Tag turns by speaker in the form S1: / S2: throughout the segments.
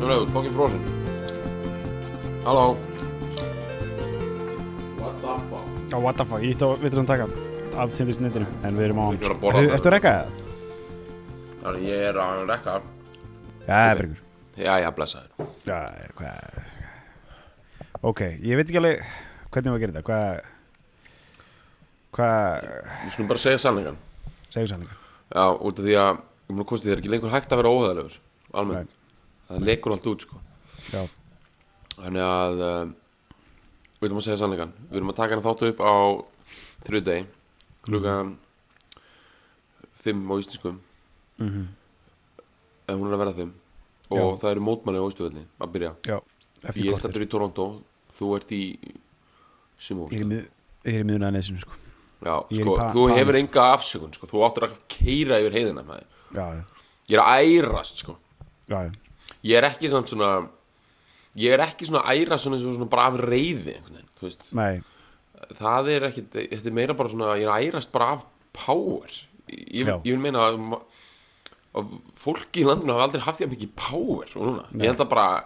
S1: Nú rauður, bókin frósin. Halló. What the fuck?
S2: Já, what the fuck, ég ætti að vitra sem taka af tindist netinu, en við erum á hann
S1: Ég var að borða
S2: Ertu-
S1: það.
S2: Ertu að rekka það?
S1: Þannig ég er að rekka.
S2: Já, Bergur
S1: Jæja, blessaður.
S2: Já, hvað Ok, ég veit ekki alveg hvernig við að gera þetta, hvað Hvað,
S1: Við skulum bara segja sannleikan.
S2: segjum sannleika
S1: Já, út af því að, ég mér kosti þér ekki lengur hægt að vera óheðalegur. Almennt. Það leikur allt út, sko.
S2: Já,
S1: Þannig að, uh, við erum að segja sannleikan. Við erum að taka hana þáttu upp á þrjúdegi, klukkan fimm á íslenskum. Mhm. En hún er að verða fimm. Og
S2: Já.
S1: það eru mótmæli á Ísluvelli að byrja.
S2: já, eftir
S1: Ég
S2: kortir
S1: stendur í Toronto, þú ert í Sumó
S2: Ég er í mið- ég er í miðuna að neðsinu, sko
S1: Já,
S2: ég er í
S1: sko,
S2: pa-
S1: þú
S2: panik.
S1: hefur enga afsökun sko. þú áttur að keira yfir heiðina maður.
S2: Já, já,
S1: Ég er að ærast sko.
S2: já, já.
S1: Ég er ekki samt svona Ég er ekki svona æra svona, svona, svona bara af reyði einhvern veginn, þú veist.
S2: nei,
S1: Það er ekki, þetta er meira bara svona Ég er að ærast bara af power Ég,
S2: Já.
S1: ég vil meina að, ma- að Fólki í landinu hafa aldrei haft því að mikið power Og núna, ég held að bara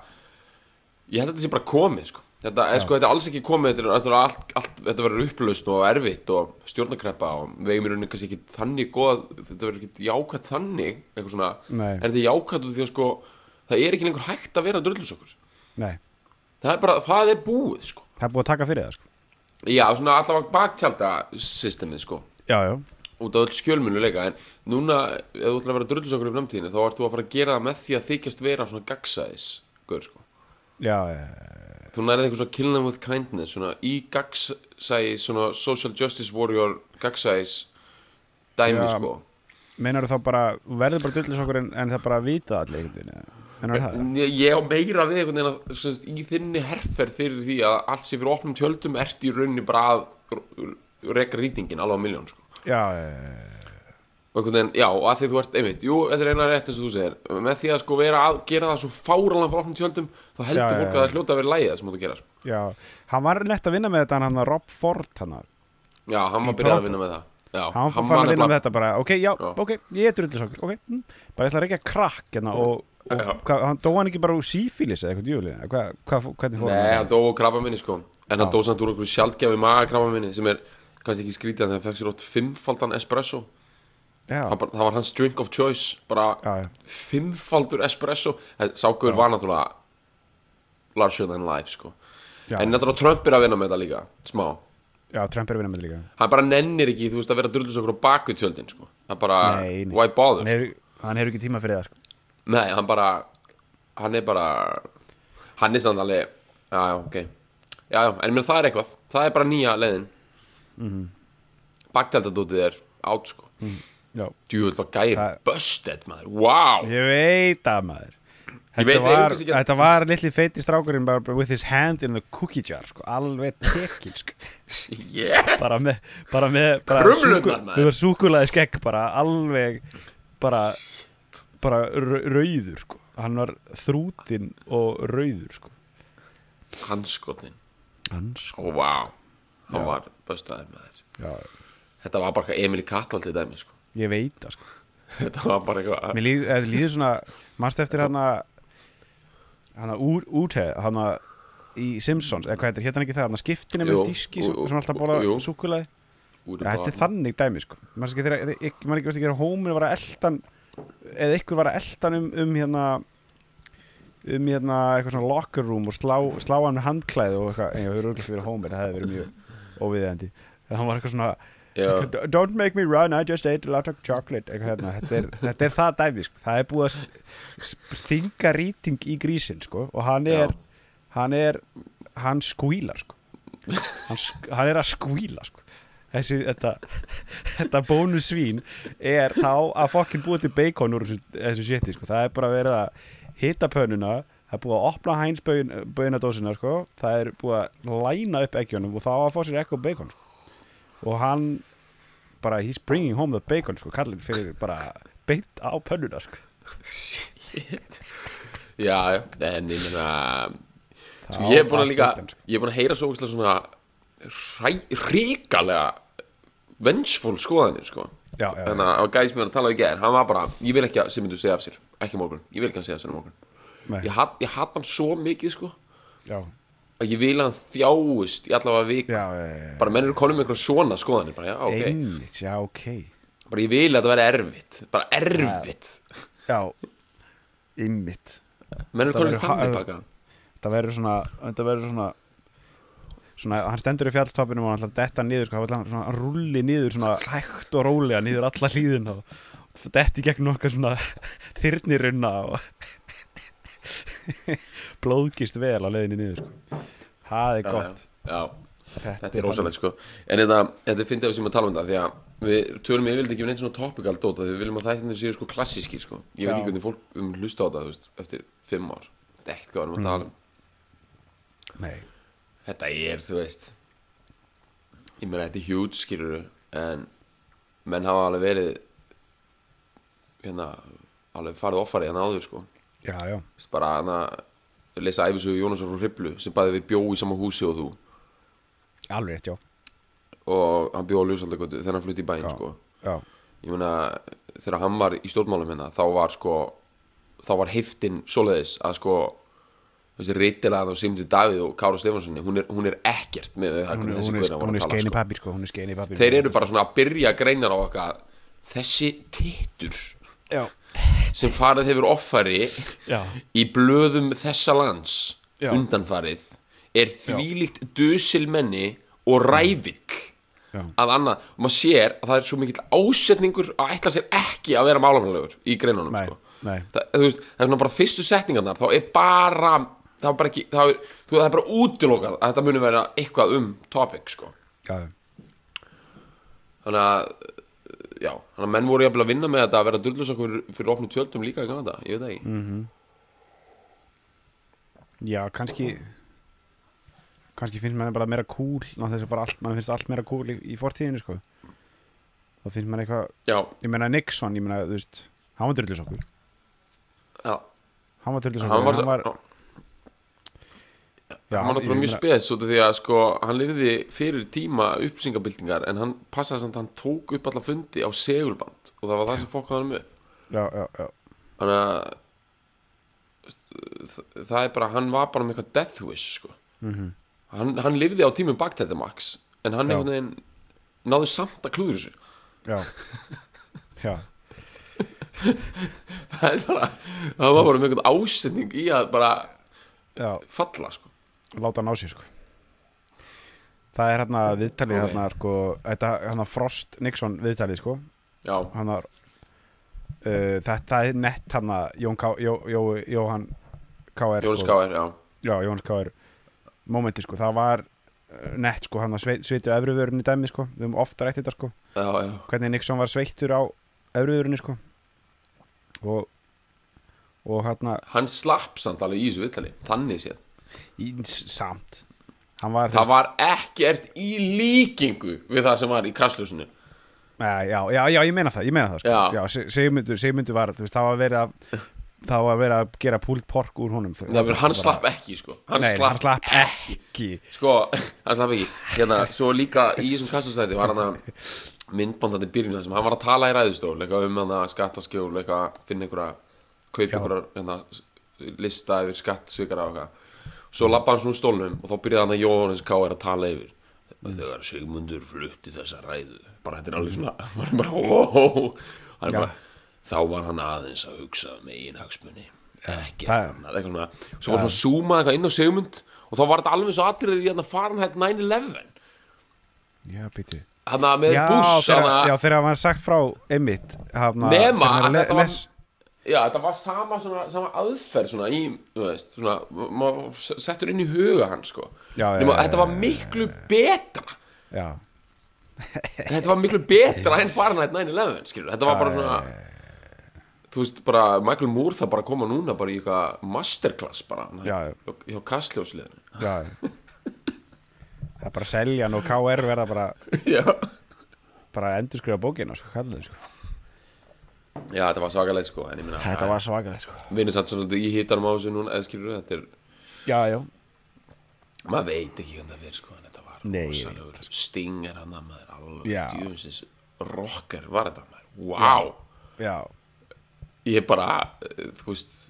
S1: Ég held að þetta sé bara komið sko. Þetta, er, sko, þetta er alls ekki komið Þetta, er- þetta, er allt, allt, þetta verður upplaust og erfitt Og stjórnakreppa og vegum í rauninni kannski ekki þannig góð Þetta verður ekki jákvætt þannig Eitthvað svona,
S2: Nei.
S1: en þetta er jákvætt út af Því að sko, það er ekki lengur hægt að vera drullusokur
S2: nei
S1: Það er bara, það er búið sko.
S2: Það er búið að taka fyrir það, sko
S1: Já, svona allavega baktjálta systemið sko
S2: Já, já,
S1: út af öll skjölmunuleika en núna, ef þú ætlar að vera drullusokur í framtíðinu þá ert þú að fara að gera það með því að þykjast vera svona gagsæðis gaur, sko.
S2: já, já,
S1: þú nærið eitthvað svona kill them with kindness svona í gagsæðis svona social justice warrior gagsæðis dæmi
S2: Já,
S1: sko
S2: meinar þá bara, þú verður bara dullis okkur en, en það bara vita það allir einhvern veginn, eða? en er það það?
S1: Ég- ég á meira við einhvern veginn að sem sagt, í þinni herferð fyrir því að allt sé fyrir opnum tjöldum ert í rauninni bara að r- r- reka rýtingin alveg á miljón sko
S2: Já, já, já,
S1: og einhvern veginn, já, og að því þú ert, einmitt, jú, þetta er einar rétt eins og þú segir, með því að sko vera að gera það svo fáralega frá opnum tjöldum þá heldur
S2: Já, já,
S1: fólk
S2: já.
S1: að það hljóta að vera lægið sem þú gera, sko.
S2: já, hann var lett að vinna með þetta hann að Rob Ford hann að
S1: Já, hann var byrjað að vinna með það. Já,
S2: hann var farin að vinna með
S1: nefnilega-
S2: þetta bara ok, já,
S1: Já.
S2: ok, ég er drullisokkur ok, mm, bara ég ætla að reykja krakk hérna og, og
S1: Já.
S2: hvað, hann dó hann ekki bara úr sífílis eða eitthvað djúli, hva, hva, hvernig fór
S1: Nei, hann
S2: hann
S1: dó á krabba minni, sko, en hann dó samt úr einhverju sjaldgjafi maga krabba minni sem er kannski ekki skrítið en það fekk sér ótt fimmfaldan espresso.
S2: já,
S1: Það, bara- það var hans drink of choice, bara
S2: Já, já.
S1: fimmfaldur espresso. Sákur var náttúrulega larger than life, sko.
S2: Já.
S1: En náttúrulega Trump er að vinna með þetta líka, smá.
S2: já, Trump er að vinna með þetta líka
S1: hann bara nennir ekki, þú veist, að vera drullus okkur á baku tjöldin, sko, það bara
S2: Nei, nei.
S1: why bother,
S2: hann
S1: nei.
S2: hefur, hann hefur ekki tíma fyrir það sko.
S1: nei, hann bara hann er bara hann er samt alveg, já, já, ok já, já, en mér það er eitthvað, það er bara nýja leiðin mm
S2: Mhm.
S1: -hmm. baktjaldadótið er át, sko mm.
S2: já,
S1: djúvel var gæði,
S2: Það-
S1: busted, maður wow,
S2: ég veit að maður
S1: veit að
S2: Þetta
S1: ég
S2: var,
S1: hugsa ekki að-
S2: þetta var litli feiti strákurinn bara bara with his hand in the cookie jar sko, alveg tekil sko.
S1: yeah
S2: bara með, bara með bara
S1: Krumlurnar,
S2: súkku-
S1: maður.
S2: við varum súkulaði skegg bara alveg bara, bara ra- rauður sko. hann var þrútin og rauður sko.
S1: hanskotin,
S2: hans
S1: oh, wow hann var bustaði, maður
S2: já,
S1: þetta var bara eitthvað Emil Kattvaldi dæmi, sko
S2: ég veit það sko.
S1: þetta var bara eitthvað,
S2: mér líð, eh, líður svona mannst eftir hann að hann að úr, úthe hann að í Simpsons, eða hvað heitir, hétt hann ekki það hann að skiptinu með
S1: Jú,
S2: þíski
S1: jú,
S2: sem,
S1: jú,
S2: sem alltaf bóla
S1: jú.
S2: súkulaði
S1: úr
S2: þetta er þannig dæmi sko. mann ekki þegar, ég- ég man ekki veist ekki þegar hómur var að eldan eða ykkur var að eldan um, um hérna um hérna eitthvað svona locker room og slá, slá hann með handklæði og eitthvað, en ég hefur auðvitað fyrir hómur, það hefði verið mjög óviðeðandi en hann var eitthvað svona
S1: Já.
S2: eitthvað, don't make me run, I just ate a lot of chocolate eitthvað hérna, þetta er, þetta er það dæmi sko. það er búið að st- stinga rýting í grísin sko, og hann
S1: Já.
S2: er, hann er hann skvílar sko hann, sk- hann er að skvíla sko. Þessi, þetta, þetta bónusvín er þá að fokkin búið til bacon úr þessu, þessu sétti sko. það er bara verið að hita pönuna það er búið að opna Heinz bönadósina sko. það er búið að læna upp eggjónum og þá að fá sér ekko bacon sko. og hann bara he's bringing home the bacon sko, kallið fyrir bara beint á pönnuna sko.
S1: já, já, en ég meina
S2: Það
S1: sko,
S2: á
S1: ég er búin
S2: bara
S1: að líka
S2: steiktan, sko.
S1: ég er búin að heyra svo ógeðslega svona ríkalega vengeful skoðanir sko
S2: Já, já, já.
S1: þannig að gæði sem ég var að tala við í gær hann var bara, ég vil ekki að Simmundur segja af sér ekki á morgun, ég vil ekki að hann segja af sér á morgun
S2: Nei.
S1: ég hatt hat hann svo mikið sko
S2: já,
S1: að ég vil að hann þjáist í allavega vik
S2: já, já,
S1: bara menn eru konum með einhverja svona skoðanir bara, já,
S2: já.
S1: ok,
S2: einmitt, já, ok
S1: bara ég vil að þetta verði erfitt bara erfitt
S2: Já, ymmit
S1: menn eru
S2: Það
S1: konum
S2: verður
S1: með þannig
S2: ha-
S1: baka
S2: Það verður svona, það verður svona Svona, hann stendur í fjallstoppinum og hann ætlar að detta niður, sko, hann ætlar svona að rulli niður svona hægt og rólega niður alla hlýðin og detti gegn okkar svona þyrnirunna og blóðkist vel á leiðinni niður, sko. Það er gott.
S1: já, já. Þetta er rosalegt sko En þetta, þetta er fyndið að við sem að tala um þetta Því að við tölum yfirleitt ekki um neitt svona topical dóta Því við viljum að þættinir séu sko klassískir sko Ég veit
S2: Já.
S1: ekki hvernig fólk um hlusta á þetta þú veist, Eftir fimm ár Þetta er ekkert hvað við erum að tala um
S2: Nei,
S1: Þetta er, þú veist Ég meina þetta er huge skilur En menn hafa alveg verið Hérna Alveg farið offarið hérna áður sko
S2: já, já,
S1: Þú veist, Bara hérna Lesa æfisögu Jónasar frá Hriblu Sem bæði við bjóð í sama húsi og þú
S2: alveg rétt, já.
S1: Og hann bjóð á Ljósaldagötu Þegar hann flutti í bæinn
S2: Já.
S1: sko
S2: Já,
S1: ég meina þegar hann var í stjórnmálum hérna þá var sko þá var heiftin svoleiðis að sko þessi reytilega þá Simdi Davíð og Kára Stefanssoni hún, er- hún er ekkert með það
S2: hún,
S1: hvernig
S2: er-
S1: þessi
S2: hún er,
S1: guðna
S2: hún
S1: voru
S2: er
S1: að
S2: skein í
S1: tala sko.
S2: pappir, sko, hún er skein í pappir.
S1: þeir eru bara svona að byrja að greinar á okkar þessi titur
S2: Já,
S1: sem farið hefur offari
S2: já,
S1: í blöðum þessa lands
S2: Já.
S1: undanfarið er þvílíkt dusilmenni og rævill
S2: Já.
S1: að annað, og maður sér að það er svo mikill ásetningur að ætla sér ekki að vera málumlegur í greinunum
S2: nei,
S1: sko.
S2: nei,
S1: það, þú veist, það er svona bara fyrstu setningarnar þá er bara það er bara, ekki, það er, þú, það er bara útilokað að þetta muni vera eitthvað um topic sko.
S2: já, já.
S1: þannig að já, þannig að menn voru jafnvel að vinna með þetta að vera dullus okkur fyrir opnum tjöldum líka í Kanada, ég veit það
S2: Mm.
S1: ekki
S2: Já, kannski kannski finnst manni bara meira cool ná þess að bara allt, mann finnst allt meira cool í, í fortíðinu sko þá finnst manni eitthvað,
S1: já,
S2: ég meina Nixon ég meina, þú veist, hann var drullusokkur
S1: já,
S2: hann var drullusokkur,
S1: hann var,
S2: hann var
S1: já,
S2: já,
S1: hann var náttúrulega mjög spes út af því að sko, hann lifði fyrir tíma uppsingabildingar en hann passaði samt að hann tók upp alla fundi á segulband og það var það sem fokkaði hann upp
S2: já, já, já,
S1: þannig að þ- það er bara, hann var bara með eitthvað death wish sko. hann, hann lifði á tímum baktættamax en hann
S2: Mhm. Já.
S1: einhvern veginn náðu samt að klúður þessu
S2: já já,
S1: það er bara, hann var bara með eitthvað ásetning í að bara
S2: já,
S1: falla sko.
S2: láta hann á sér sko það er hérna viðtalið
S1: Ok.
S2: hérna sko, þetta hérna Frost Nixon viðtalið sko
S1: já,
S2: hann var uh, þetta er nett hann Jón K, Jó, Jó, Jóhann K.R.
S1: Jónas
S2: sko.
S1: Gáir, já
S2: Já, Jóhannes Káir Mómenti sko, það var uh, nett sko, hann að sveit, sveitu efruvörunni dæmi sko, við höfum ofta rætt þetta sko
S1: já, já,
S2: hvernig Nixon var sveittur á efruvörunni sko og og hérna,
S1: hann slapp samt alveg í þessu viðtali þannig séð,
S2: í, samt hann var
S1: það var ekkert í líkingu við það sem var í kastljósinu
S2: Nei, já, já, já, ég meina það, ég meina það sko.
S1: Já.
S2: já Se- Sigmundur, Sigmundur var, þú veist, það var verið að það var verið að gera púlt pork úr honum þú-
S1: hann, hann
S2: bara-
S1: slapp ekki sko, hann
S2: Nei,
S1: slapp
S2: hann slapp ekki
S1: Sko, hann slapp ekki Hérna, svo líka í þessum kastustætti var hann að myndbandandi byrjun þar sem hann var að tala í ræðustól eitthvað um hann að skattaskjól eitthvað að finna einhverja kaupa einhverja hérna, lista yfir skattsvikara og eitthvað svo lappa hann svona úr stólnum og þá byrjaði hann að Jóhannes K. er að tala yfir þegar Sigmundur flutti þessa ræðu bara þetta er alveg svona hann er bara, ó, hann er bara þá var hann aðeins að hugsa um eigin hagsmunni ekkert
S2: það-
S1: annað eitthvað svona, svo var svona zoomað eitthvað inn á Sigmund og þá var þetta alveg svo atriðið í hann að fara hann hætt 9-11
S2: Já, býttu
S1: hann að með
S2: Já,
S1: buss
S2: þegar,
S1: hann að,
S2: já,
S1: já,
S2: þegar hann var sagt frá Emmitt Nema,
S1: nema að þetta var
S2: les,
S1: þetta var sama, svona, sama aðferð svona í, þú veist, svona maður s- settur inn í huga hann sko
S2: Já, já,
S1: nema
S2: já,
S1: þetta var miklu betra
S2: Já,
S1: þetta var miklu betra en fara hann hætt 9-11 skilur, þetta var bara svona þú þú veist bara Michael Moore það bara að koma núna bara í eitthvað masterclass bara hann-
S2: Já, já.
S1: hjá- hjá kastljósliðinu
S2: Já Það er bara að selja hann og KR verða bara,
S1: já.
S2: bara að endurskrifa bókina sko, kallið, sko.
S1: já, þetta var svakalegt sko en ég minna,
S2: Þetta var svakalega sko.
S1: við erum samt svona í hítanum á þessu núna eða skilur þetta er,
S2: Já, já
S1: maður veit ekki hvernig það fyrir sko en þetta var
S2: Nei, ég sko.
S1: rosalegur stingar hann að maður
S2: Já.
S1: alveg djúfisins rocker var þetta maður wow.
S2: Já,
S1: ég bara, eh, þú veist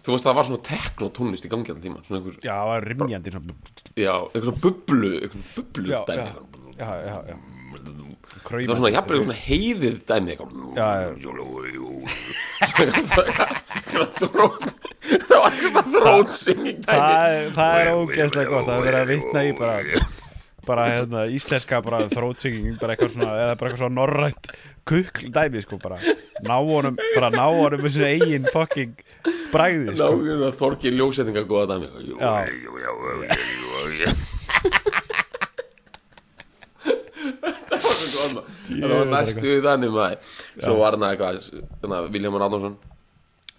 S1: þú veist það var svona tekno tónlist í gangi allan tíma, svona einhver,
S2: já, það var rimjandi svona,
S1: já, einhver svona bublu einhver svona bublu
S2: Já,
S1: dæmi
S2: já.
S1: eitthvað.
S2: Já, já, já
S1: það var svona jafnvel eitthvað svona heiðið dæmi
S2: Já,
S1: eitthvað
S2: já.
S1: Svona þrót það var svona þrótsinging dæmi
S2: Það, það er ógeðslega gott að vera að vitna í bara bara hérna íslenska bara þrótsinging bara eitthvað svona eða bara eitthvað svona norrænt kukl dæmi sko bara ná honum bara ná honum þessu eigin fucking bragði sko.
S1: Nákvæmlega Þorgir ljósetninga góða dæmi
S2: Já.
S1: Það var svo góð maður Það var næstu við þannig maður Svo var hann eitthvað hérna, Vilhelm Arnánsson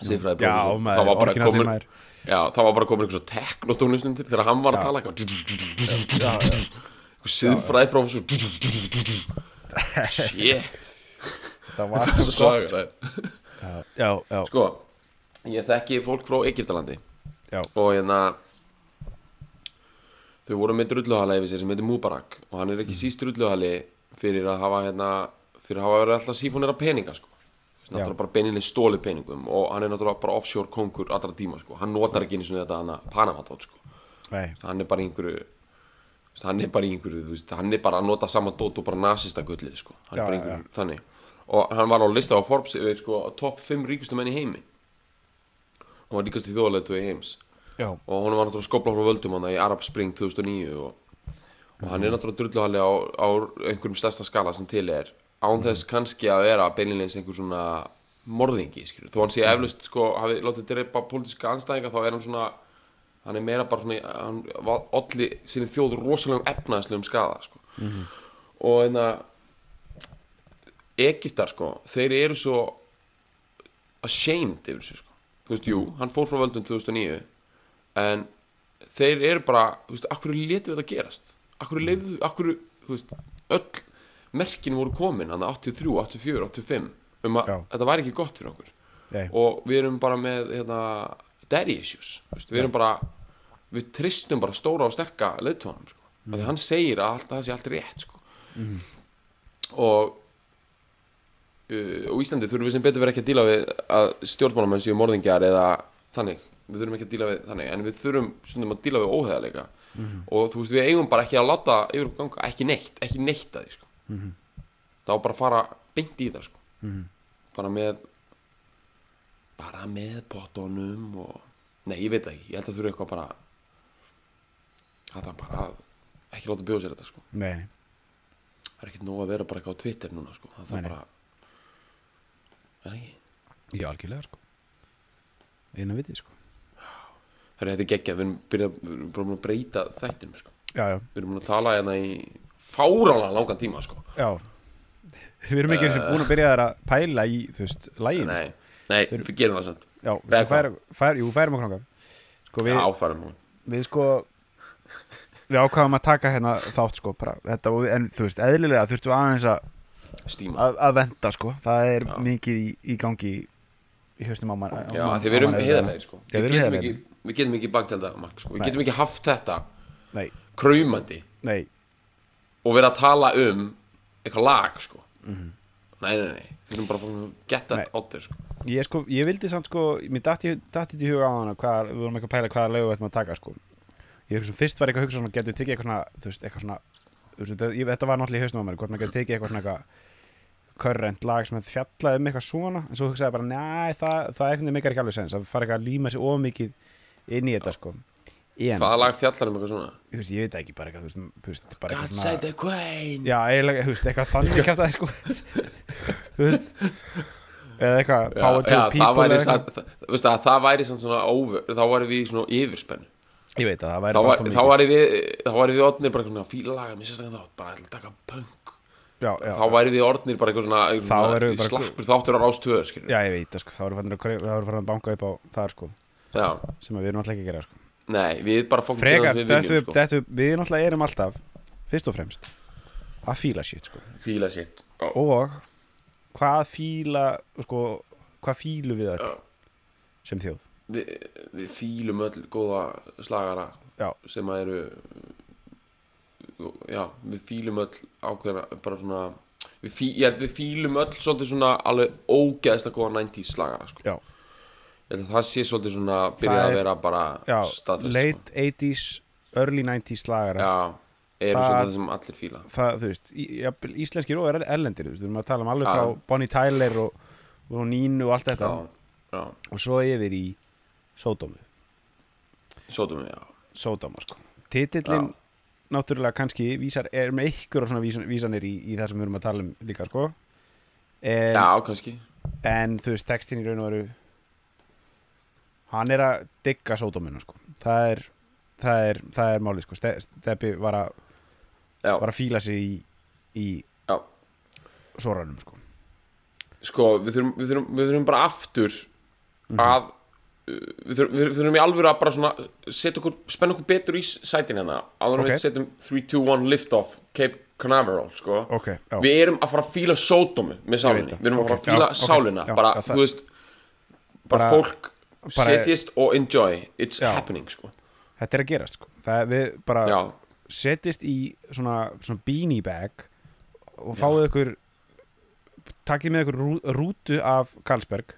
S1: Sifraði
S2: Já,
S1: prófessor
S2: maður,
S1: Það var bara
S2: orginal
S1: komin
S2: maður.
S1: Já, það var bara komin eitthvað teknotónlistin til Þegar hann var að tala eitthvað Eitthvað siðfræði prófessor Shit
S2: það var
S1: Það er
S2: svo
S1: svo sagar
S2: gott
S1: það
S2: já, já,
S1: Sko, ég þekki fólk frá Egyptalandi
S2: já,
S1: og hérna þau voru með drulluhala yfir sér sem heitir Mubarak og hann er ekki
S2: Mhm.
S1: síst drulluhali fyrir að hafa hérna, fyrir að hafa verið alltaf sífónir að peninga sko Þú veist, náttúrulega bara beininlega stóli peningum og hann er náttúrulega bara offshore kongur allra tíma sko, hann notar ekki eins og þetta hana Panama-tótt sko,
S2: nei,
S1: hann er bara í einhverju þú veist, hann er bara í einhverju þú veist, hann er bara að nota sama dót og bara nasista gullið sko, hann
S2: Já,
S1: er bara í
S2: já,
S1: einhverju þannig og hann var á lista á Forbes yfir sko top 5 ríkustu menn í heimi og var líkast í þjóðleitu í heims
S2: já
S1: og hún var náttúrulega skopla frá völdum hann í Arab Spring 2009 og, og hann er náttúrulega drulluhalli á, á einhverjum stærsta skala sem til er án þess kannski að vera beinleins einhver svona morðingi skilur. þó hann sé eflaust sko hafi látið dreipa pólitíska anstæðinga þá er hann svona hann er meira bara svona í- hann var olli sinni þjóð rosalegum efnaðslegum skada sko. og hérna, en að Egiptar sko þeir eru svo ashamed yfir þessu sko þú veist, jú, hann fór frá völdum 2009 en þeir eru bara þú veist, akkur letu þetta gerast akkur leiðu, akkur, þú veist öll merkin voru komin hann 83, 84, 85 um að
S2: Já.
S1: þetta væri ekki gott fyrir okkur
S2: Nei.
S1: og við erum bara með hérna, daddy issues, þú veist, við erum bara við tristum bara stóra og sterka leiðtónum, sko, mm. því hann segir að allt, það sé allt rétt, sko og uh, og Íslandi þurfum við sem betur verið ekki að díla við að stjórnmálamenn séu morðingjar eða þannig, við þurfum ekki að díla við þannig en við þurfum stundum að díla við óheðalega og þú veist, við eigum bara ekki að láta yfir okkur ganga, ekki neitt, ekki neitt að því sko. mm þá bara að fara beint í það sko. bara með bara með potunum og, nei, ég veit það ekki ég held að þurfum eitthvað bara að það bara að ekki láta bjóða sér þetta sko
S2: nei, nei.
S1: það er ekkert nóg að vera bara eitthvað á Twitter núna sko. það
S2: Nei,
S1: er
S2: nei.
S1: bara er það ekki
S2: já, algjörlega sko innan vitið sko
S1: Herri, þetta er geggjað, við erum byrjað- við erum bara búin að breyta þættum sko.
S2: já, já,
S1: við erum búin að tala hérna í fárálega langan tíma sko.
S2: já við erum ekki eins og búin að byrja þær að pæla í þú veist, lægin
S1: nei, nei, við gerum það samt
S2: já, við
S1: Eða
S2: sko færum, fær, jú, færum okkur nokkað sko við,
S1: já, færum hún
S2: við sko við ákvaðum að taka hérna þátt sko bara, þetta, og við- en þú veist, eðlilega þurftum við aðeins að,
S1: stíma
S2: að, að venda sko það er
S1: Já.
S2: mikið í, í gangi í, í höstum á mann á
S1: já,
S2: mann-
S1: því við
S2: á
S1: erum
S2: mann-
S1: heiðarlegir sko.
S2: Já,
S1: við,
S2: við erum
S1: getum ekki,
S2: heiðarlegir.
S1: við getum ekki baktelda Mark, sko. við
S2: Nei.
S1: getum ekki haft þetta
S2: nei,
S1: kraumandi
S2: nei,
S1: og vera að tala um eitthvað lag sko. nei, nei, nei, við erum bara að fá- get that
S2: Mhm. Nei.
S1: out there sko.
S2: ég sko ég vildi samt sko, mér datti datti til huga á hana hvað, við vorum eitthvað að pæla hvaða lögu við ætlum að taka sko ég hugsa, fyrst var eitthvað að hugsa svona, getum við tekið eitthvað svona þú veist, eitthvað svona þú veist, þetta- ég- þetta var náttúrulega í hausnum á mér, hvort maður getur tekið eitthvað svona eitthvað körrent lag sem fjallaði um eitthvað svona en svo hugsaði ég bara, næ, það, það eitthvað meikar ekki alveg sens, að fara eitthvað að líma sér ofmikið inn í þetta sko en,
S1: hvaða lag fjallar um eitthvað svona
S2: þú veist, ég veit það ekki bara eitthvað, þú veist, þú veist, bara
S1: God
S2: eitthvað
S1: save the Queen
S2: Já, eiginlega, þú veist, eitthvað þannig kæft sko Þú veist Eða eitthvað Power to
S1: já,
S2: the people
S1: það væri,
S2: eða
S1: samt- það, það, það, það væri samt svona over, þá væri við í svona yfirspennu
S2: Ég veit að það væri
S1: þá
S2: bara
S1: var-
S2: alltaf
S1: þá
S2: mikið
S1: væri við þá væri við odnir bara svona fíla laga mér sérstaklega þátt bara ætla að taka punk
S2: já, já,
S1: þá væri við orðnir bara eitthvað svona
S2: Þá erum við
S1: eitthvað
S2: bara-
S1: slappur þáttur á rástöðu skilur
S2: já, ég veit, það, sko, þá erum við farin að, kreu- þá erum við farin að banka upp á það sko,
S1: já,
S2: sem að við erum alltaf ekki að gera sko.
S1: nei, við bara fókum
S2: frekar,
S1: við
S2: þetta
S1: viljum
S2: við,
S1: sko,
S2: þetta við, við náttúrulega erum alltaf fyrst og fremst að fíla shit sko.
S1: fíla sér
S2: og hvað fíla sko, hvað fílu við öll
S1: Já.
S2: sem þjóð
S1: við, við fílum öll góða slagara
S2: Já.
S1: sem að eru já, við fílum öll ákveðna, bara svona við, fí, ég, held við fílum öll svolítið svona alveg ógeðslega góða 90s slagara sko.
S2: já,
S1: Ég held að það sé svolítið svona byrjað
S2: Það
S1: að
S2: er-
S1: vera bara
S2: já
S1: staðfest sko.
S2: late 80s, early 90s slagara
S1: já, eru
S2: Það-
S1: svolítið það sem allir fíla
S2: það, þú veist, í, jafnvel íslenskir og er- erlendir, þú veist, við erum að tala um alveg
S1: Já.
S2: frá Bonnie Tyler og, og Nínu og allt þetta
S1: já, já,
S2: og svo yfir í Sódómu,
S1: sótum við, já
S2: Sódóma sko. titillin náttúrulega kannski vísar, er með einhverja svona vísan, vísanir í, í það sem við erum að tala um líka sko. en,
S1: já, kannski
S2: en þú veist, textin í raun og veru hann er að digga Sódóminu sko. það er það er, það er málið sko. Ste, Steppi var að,
S1: já,
S2: var að fíla sig í, í
S1: já.
S2: soranum sko.
S1: sko, við þurfum, við, þurfum, við þurfum bara aftur að uh, við þurfum, við þurfum í alvöru að bara svona setja okkur, spenna okkur betur í s- sætin hérna áður en
S2: Ok.
S1: við setjum 3, 2, 1 lift off Cape Canaveral, sko
S2: ok, já
S1: við erum að fara að fíla sódómi með
S2: veit
S1: sálinni,
S2: það.
S1: við erum
S2: Ok,
S1: að fara að fíla
S2: já, ok,
S1: sálina,
S2: já,
S1: bara,
S2: já, það-
S1: þú veist bara,
S2: bara-
S1: fólk
S2: bara-
S1: setjist og enjoy, it's
S2: Já.
S1: happening, sko
S2: þetta er að gerast sko. það er við bara
S1: já,
S2: setjist í svona, svona beanie bag og fáið ykkur takkið með ykkur rú- rútu af Karlsberg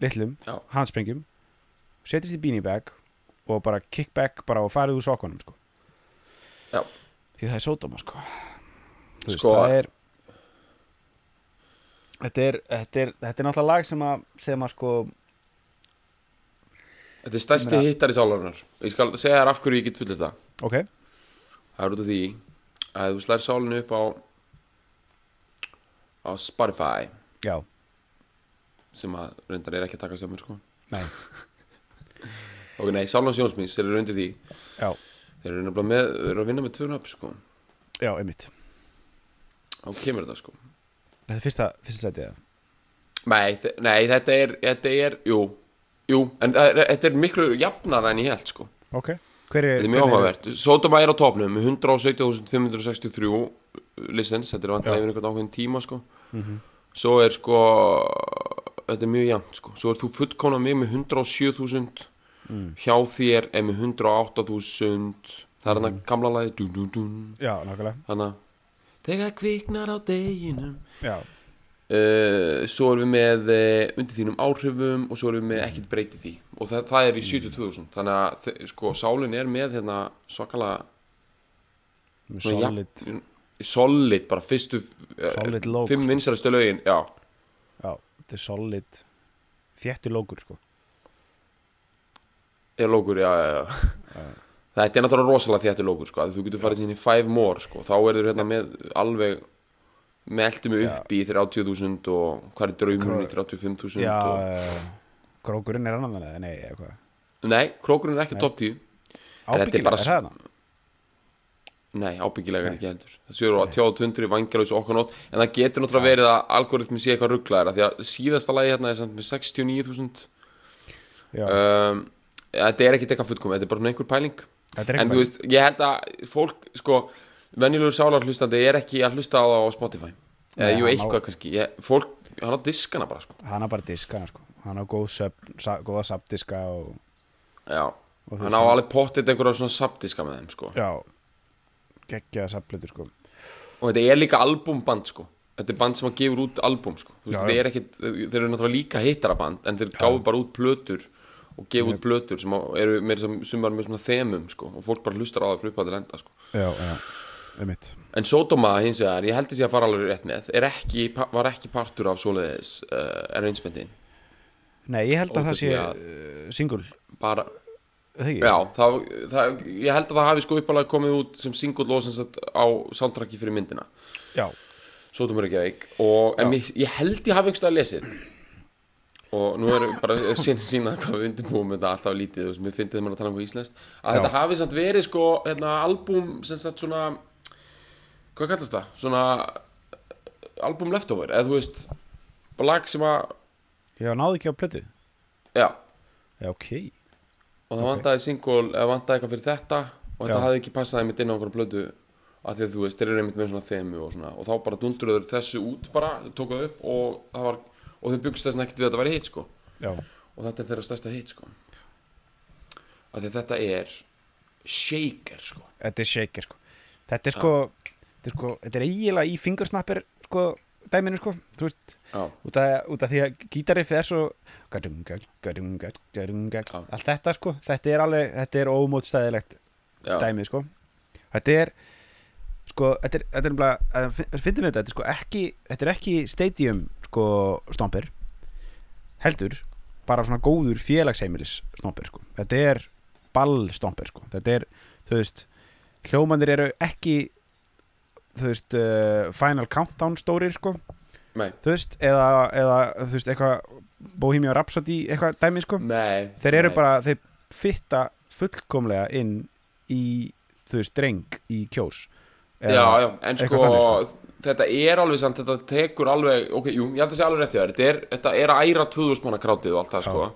S2: litlum,
S1: Já.
S2: handsprengjum setjist í beanie bag og bara kickback bara og farið úr sokkunum sko.
S1: Já.
S2: því það er sódóma sko. Þú veist,
S1: Sko-
S2: það er Þetta er, þetta, er, þetta er náttúrulega lag sem að, sem að sko,
S1: þetta er stærsti
S2: Ég
S1: hittar í sálarinnar ég skal segja þér af hverju ég get fullið það
S2: ok,
S1: Það er út af því að ef þú slær sálinu upp á á Spotify
S2: já,
S1: sem að reyndar er ekki að taka stjórnum sko.
S2: nei,
S1: ok, nei, Sálans Jónsmins þeir eru undir því
S2: já,
S1: þeir eru nefnilega með, eru að vinna með tvö nöfn sko.
S2: já, einmitt.
S1: þá kemur þetta sko
S2: Þetta er fyrsta, fyrsta setið það.
S1: nei, þe- nei þetta, er, þetta er, jú jú, en það er, þetta er miklu jafnar en ég held sko
S2: Ok Hver er,
S1: þetta er mjög
S2: hvernig
S1: áhugavert, Sotoma er á topnum með 117.563 listens, þetta er vantilega
S2: Já. Mhm.
S1: yfir einhvern ákveðin tíma sko. svo er sko þetta er mjög jæmt sko. svo er þú fullkomna mig með 107.000
S2: Mm.
S1: hjá þér er með 108.000 það er hann
S2: Mm.
S1: að gamla lagi dun, dun, dun.
S2: Já, nákvæmlega
S1: þannig að þegar kviknar á deginum
S2: Já,
S1: uh, svo erum við með uh, undir þínum áhrifum og svo erum við með ekkert breytið því og það, það
S2: Mm.
S1: er í 72.000 þannig að þe- sko, sálin er með hérna, svakalega
S2: með
S1: Nú, já.
S2: solid
S1: solid bara fyrstu uh,
S2: Solid lókur
S1: fimm vinsarastu lögin já,
S2: Já, þetta er solid Þéttu lókur, sko
S1: er lókur, já, já, já. þetta er náttúrulega rosalega þéttur lókur sko, að þú getur farið síðan í 5 more sko, þá er þau hérna með alveg meltum við upp í 30.000 og hvað er draumurinn í 35.000
S2: Já,
S1: og...
S2: uh, krókurinn er annan þannig Nei, eða hvað
S1: nei, krókurinn er ekki top 10 þetta er
S2: Ábyggilega,
S1: bara
S2: er það þannig?
S1: Nei, ábyggilega er ekki heldur Þessu eru á 22, vangalaus og okkur nót En það getur náttúrulega verið að algoritmi sé eitthvað rugglaðir Því að síðasta lagi hérna er samt með 69.000
S2: Já,
S1: um, Þetta er ekkit eitthvað fullkom Þetta er bara svona einhver pæling
S2: þetta er
S1: En
S2: ekki
S1: þú veist, ég held að fólk sko, Venjulegur sálar hlustandi er ekki að hlusta á það á Spotify Eða jú,
S2: Nei, hann á-
S1: eitthvað kannski ég, Fólk, hann á diskana bara sko.
S2: bara- Hann á bara diska, sko Hann á góð söp, sa, góða sabdiska og
S1: Já,
S2: þú veist,
S1: hann á alveg pottit einhverja svona sabdiska með þeim sko.
S2: Já Gekkjaða sabblötu, sko
S1: og þetta er líka albumband sko þetta er band sem að gefur út album sko Þú veist,
S2: Já,
S1: þetta
S2: já.
S1: er ekkit, þeir eru náttúrulega líka hittaraband en þeir gáðu bara út plötur og gefa út plötur sem að- eru meira sem sumar með svona þemum sko og fólk bara hlustar á það frá upp að til enda sko
S2: Já, já, einmitt
S1: en Sotoma hins vegar, ég held þessi að fara alveg rétt með er ekki, pa- var ekki partur af svoleiðis uh, arrangementin
S2: Nei, ég held
S1: Út
S2: að það
S1: af
S2: sé
S1: því
S2: uh,
S1: að-
S2: single
S1: bara,
S2: er það ekki?
S1: já, það, það, ég held að það hafi sko uppalega komið út sem single og sem sagt á soundtracki fyrir myndina
S2: Já,
S1: Sótum er ekki að veik og, En ég, ég held ég hafi einhverstað lesið Og nú erum við bara sín, sína hvað við undirbúum þetta alltaf lítið og sem við fyndið maður að tala um hvað íslenskt að
S2: Já.
S1: þetta hafi samt verið sko hérna, albúm sem sagt svona hvað kallast það? Svona album leftover eða þú veist, bara lag sem að
S2: Ég náði ekki á plötu
S1: já,
S2: Já, ok
S1: og það
S2: Ok.
S1: vantaði single eða vantaði eitthvað fyrir þetta og þetta
S2: Já.
S1: hafði ekki passaði mitt inn á einhverja blödu af því að þú veist, þeir eru einmitt með svona þemu og svona og þá bara dundurður þessu út bara tók það upp og það var og þau byggst þess ekkert við að þetta væri hitt sko
S2: Já,
S1: og þetta er þeirra stærsta hitt sko af því að þetta er shaker sko
S2: þetta er shaker sko Þetta er sko, þetta er, sko, þetta er eiginlega í fingersnapper sko, dæminu sko, þú veist
S1: já,
S2: út af, út af því að gítariffið er svo gadunga, gadunga, gadunga
S1: Já.
S2: allt þetta sko, þetta er alveg þetta er ómótstæðilegt
S1: já,
S2: dæmið sko þetta er sko, þetta er, þetta er bara, finnum við þetta þetta er sko ekki, þetta er ekki stadium sko, stompir heldur, bara svona góður félagsheimilis stompir sko, þetta er ball stompir sko, þetta er þú veist, hljómanir eru ekki þú veist uh, Final Countdown stórir sko
S1: Nei.
S2: þú veist, eða, eða þú veist, eitthvað Bohemian Rhapsody eitthvað dæmi sko
S1: nei
S2: þeir eru
S1: nei.
S2: bara, þeir fitta fullkomlega inn í þú veist, dreng í kjós
S1: já, já, en sko,
S2: eitthvað þannig,
S1: þetta er alveg samt, þetta tekur alveg ok, jú, ég held að segja alveg rétt hjá þér þetta er, þetta er að æra 2000 manna krátið og allt það, sko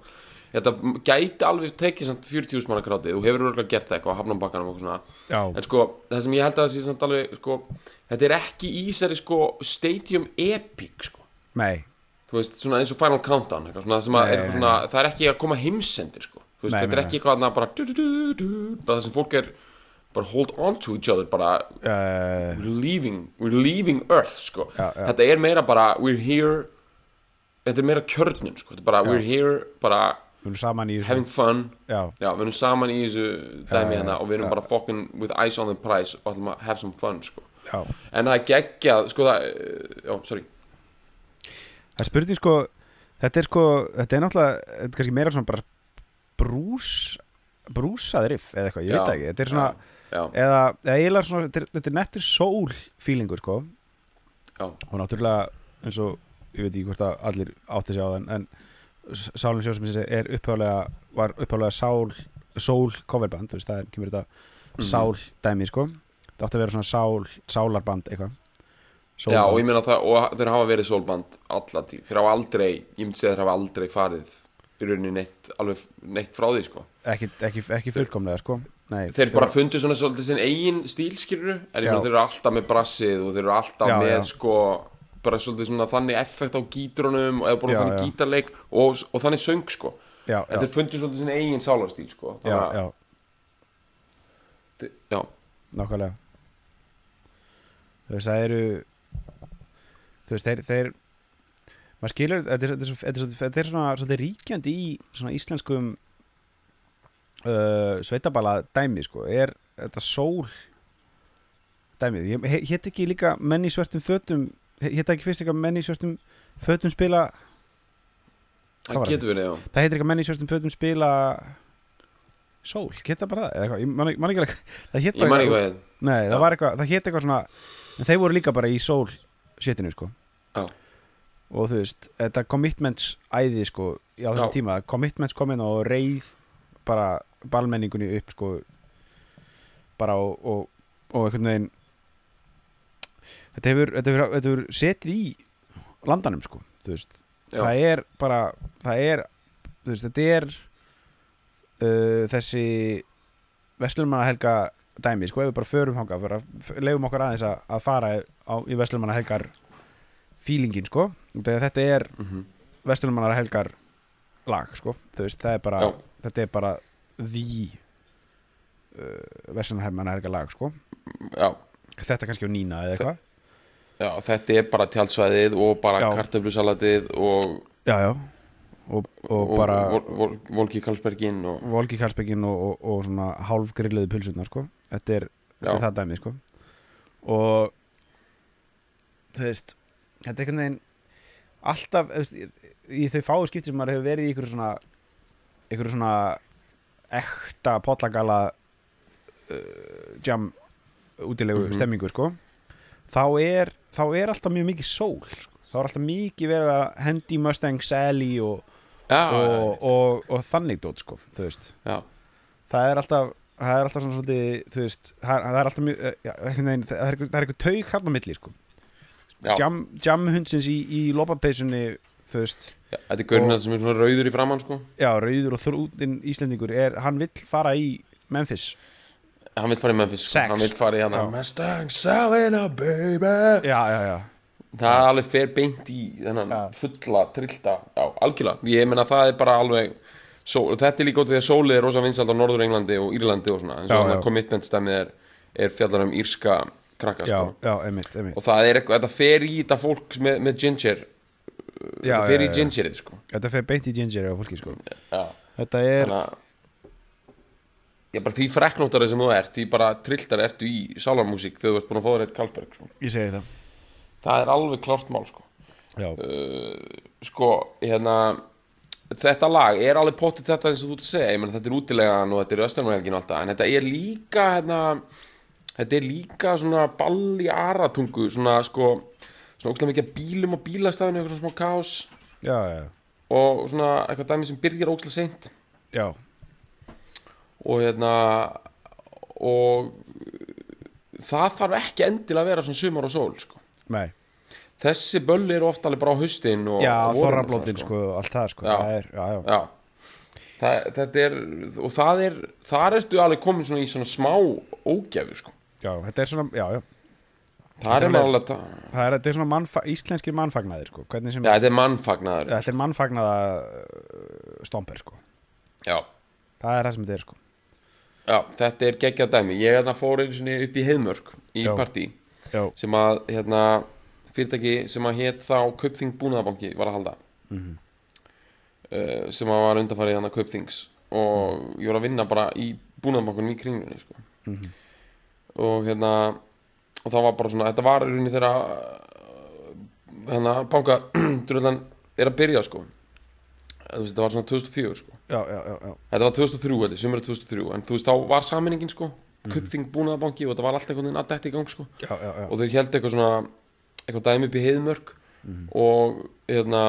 S1: þetta gæti alveg tekið samt 40.000 manna krátið þú hefur örgulega gert það eitthvað, hafnum bakkanum og eitthvað svona
S2: já,
S1: en sko, það sem ég held að það sé samt alveg sko, þetta er ekki í þessari sko stadium epic, sko
S2: nei,
S1: þú veist, svona eins og Final Countdown eitthvað, svona, sem að
S2: Nei,
S1: er eitthvað
S2: nei,
S1: svona, það er ekki að koma heimsendir sko. þú veist,
S2: Nei,
S1: þetta
S2: nei,
S1: er ekki eitthvað að bara, du, du, du, du, bara það sem fólk er bara hold on to each other bara
S2: uh,
S1: we're leaving, we're leaving earth sko.
S2: Já, já.
S1: þetta er meira bara we're here þetta er meira kjörnun sko. þetta er bara we're here bara
S2: við erum saman í
S1: having fun
S2: já,
S1: já, við erum saman í þessu dæmi
S2: já,
S1: hérna og við erum bara fucking with eyes on the prize og ætlum að have some fun sko.
S2: já
S1: en það er geggjað sko það eh, já, sorry
S2: það er spurning sko, þetta er sko þetta er náttúrulega, þetta er kannski meira svona bara brús brúsað riff eða eitthvað, ég veit
S1: Já,
S2: það ekki þetta er svona,
S1: já,
S2: eða, eða eiginlega svona þetta er, þetta er nettur sól feelingur sko
S1: já,
S2: og náttúrulega eins og ég veit ekki hvort að allir átti sig á þann en S- Sálin Sjósmísi er upphálega var upphálega sál sól coverband, þú veist, það er, kemur þetta
S1: Mhm.
S2: sál dæmi, sko það átti að vera svona sál, sálarband eitthvað
S1: já og
S2: Sólband.
S1: ég meina það og þeir hafa verið sólband alla tíð þeir hafa aldrei, ég myndi segja þeir hafa aldrei farið í rauninni neitt, alveg neitt frá því sko.
S2: ekki, ekki, ekki fullkomlega, sko Nei,
S1: þeir bara fundu svona svolítið sinn eigin stíl skilur en ég
S2: Já.
S1: meina þeir eru alltaf með brassið og þeir eru alltaf
S2: Já,
S1: með
S2: já.
S1: sko bara svolítið svona þannig effekt á gítrunum og eða bara
S2: Já,
S1: þannig
S2: já.
S1: gítarleik og, og þannig söng sko
S2: já,
S1: en
S2: já,
S1: þeir fundu svolítið sinn eigin sálarstíl sko
S2: já, já,
S1: já. já,
S2: nákvæmlega þú veist, það eru þú veist, þeir, þeir maður skilur, þetta er, þetta er, svo- þetta er, svo- þetta er svona svolítið ríkjandi í svona íslenskum uh, sveitabala dæmi, sko er þetta sól dæmi, ég he- hét ekki líka menn í svörtum fötum, he- hét það ekki fyrst eitthvað menn í svörtum fötum spila Hvað var
S1: það getur verið já.
S2: það heitir eitthvað menn í svörtum fötum spila sól, hét það bara það eða eitthvað, ég man ekki- man ekki alveg það hét
S1: ég
S2: bara
S1: man ekki hvað ég
S2: Nei,
S1: Já.
S2: það var eitthvað, það hétt eitthvað svona En þeir voru líka bara í sól setinu sko
S1: Já.
S2: Og þú veist, þetta commitments æði sko Á
S1: Já.
S2: þessum tíma, commitments kom inn og reið Bara balmenningunni upp sko Bara og, og, og einhvern veginn Þetta hefur, þetta hefur, þetta hefur setið í landanum sko Þú veist,
S1: já,
S2: það er bara það er, þú veist, þetta er uh, þessi Veslumannahelga dæmi, sko, ef við bara förum þangað bara f- leifum okkur aðeins að, að fara á, í Veslumannahelgar fílingin, sko, þegar þetta er
S1: mhm.
S2: Veslumannahelgar lag, sko, þú veist, það er bara
S1: Já.
S2: þetta er bara því uh, Veslumannahelgar lag, sko
S1: já.
S2: þetta kannski á Nína eða eitthvað
S1: já, þetta er bara tjálsvæðið og bara
S2: Já.
S1: kartöflusalatið og,
S2: já, já, og, og,
S1: og, og
S2: bara
S1: vol, vol, Volki Karlsbergin og
S2: volgi kalsbeginn og, og, og svona hálfgrilluðu pulsunar sko. þetta, er, þetta er
S1: Já.
S2: það dæmi sko. og þú veist þetta er einhvern veginn alltaf þú veist, í, í þau fáu skipti sem maður hefur verið í ykkur svona ykkur svona ekta potlagala uh, jam útilegu
S1: Mhm.
S2: stemmingu sko. þá, er, þá er alltaf mjög mikið sól sko. þá er alltaf mikið verið að hendi Mustang Sally og,
S1: já,
S2: og, og, og þannig dót sko, þú veist
S1: já,
S2: það er alltaf það er alltaf svona svolítið, þú veist það, það er alltaf mjög, eh, já, einhvern veginn, það er einhver- það er eitthvað taug hann á milli sko
S1: Já.
S2: jam, jam hundsins í, í lopapeysunni þú veist,
S1: Já, Þetta er gaurinn
S2: Og-
S1: þarna sem er svona rauður í framann sko.
S2: já, rauður og þrútin íslendingur er, hann vill fara í Memphis
S1: Hann vil fara í Memphis sko.
S2: Sex.
S1: Hann vil fara í hana
S2: Já.
S1: Mustang Salina baby
S2: já, já, já,
S1: Það er alveg fer beint í þennan
S2: Já.
S1: fulla, trillta Já, algjörlega Ég meina það er bara alveg sól, Þetta er líka út því að sólið er rosa vinsald á Norður-Englandi og Írlandi og svona En
S2: Já,
S1: svo hann
S2: já.
S1: commitment stemmið er, er fjallar um írska krakka
S2: já,
S1: sko.
S2: já, einmitt, einmitt.
S1: Og það er eitthvað, þetta fer í þetta fólk með, með ginger
S2: Já,
S1: Þetta fer
S2: já,
S1: í
S2: já.
S1: gingerið sko.
S2: þetta fer beint í ginger á fólki sko.
S1: Já
S2: þetta er,
S1: Þannig að Já, bara því freknóttari sem þú ert, því bara trilltari ertu í sálarmúsík þegar þú ert búin að fá þér eitt Kallberg sko.
S2: ég segi það
S1: Það er alveg klart mál sko.
S2: já,
S1: sko, hérna þetta lag er alveg pottið þetta eins og þú ert að segja, ég menn þetta er útilegan og þetta er östunumhelgin og allt það, en þetta er líka hérna, þetta er líka svona ball í aratungu svona sko, svona ógstlega mikið af bílum og bílastafinu, eitthvað svona smá kaos
S2: já, já,
S1: og svona eitthvað dæmi sem byrjar ógstlega seint
S2: já
S1: og hérna og það þarf ekki endilega að vera svona sumar og sól sko.
S2: nei,
S1: þessi böll eru ofta alveg bara á haustin og
S2: já,
S1: og vorin og svona,
S2: þorrablótin sko, allt það sko,
S1: Já.
S2: það er, já, já
S1: Já Þa, Þetta er og það er, þar ertu alveg komin svona í svona smá ógæfu sko.
S2: já, þetta er svona, já, já
S1: þar er
S2: er
S1: maður alveg að ta-
S2: það er, þetta er svona mannfa, íslenskir mannfagnaðir sko, hvernig sem,
S1: Já, þetta er mannfagnaður
S2: þetta er mannfagnaða uh, stomper sko,
S1: Já,
S2: það er það sem þetta er sko
S1: já þetta er geggjað dæmi Ég hérna fór einu sinni upp í Heiðmörk í
S2: Já.
S1: partí
S2: já,
S1: sem að hérna, fyrirtæki sem að hétt þá Kaupþing Búnaðabanki var að halda uh, sem að var undanfarið hérna Kaupþings og ég var að vinna bara í Búnaðabankunum í kringlunni sko. og hérna og það var bara svona, þetta var í rauninni þegar uh, hérna banka drullan er að byrja sko Þú veist, þetta var svona 2004 sko
S2: já, já, já, já.
S1: Þetta var 2003, þetta er sumur 2003 en þú veist, þá var saminingin sko Kaupþing Búnaðabanki og þetta var allt einhvern veginn að detta í gang sko
S2: já, já, já.
S1: og þau held eitthvað svona eitthvað dæmi upp í heiðmörk og hérna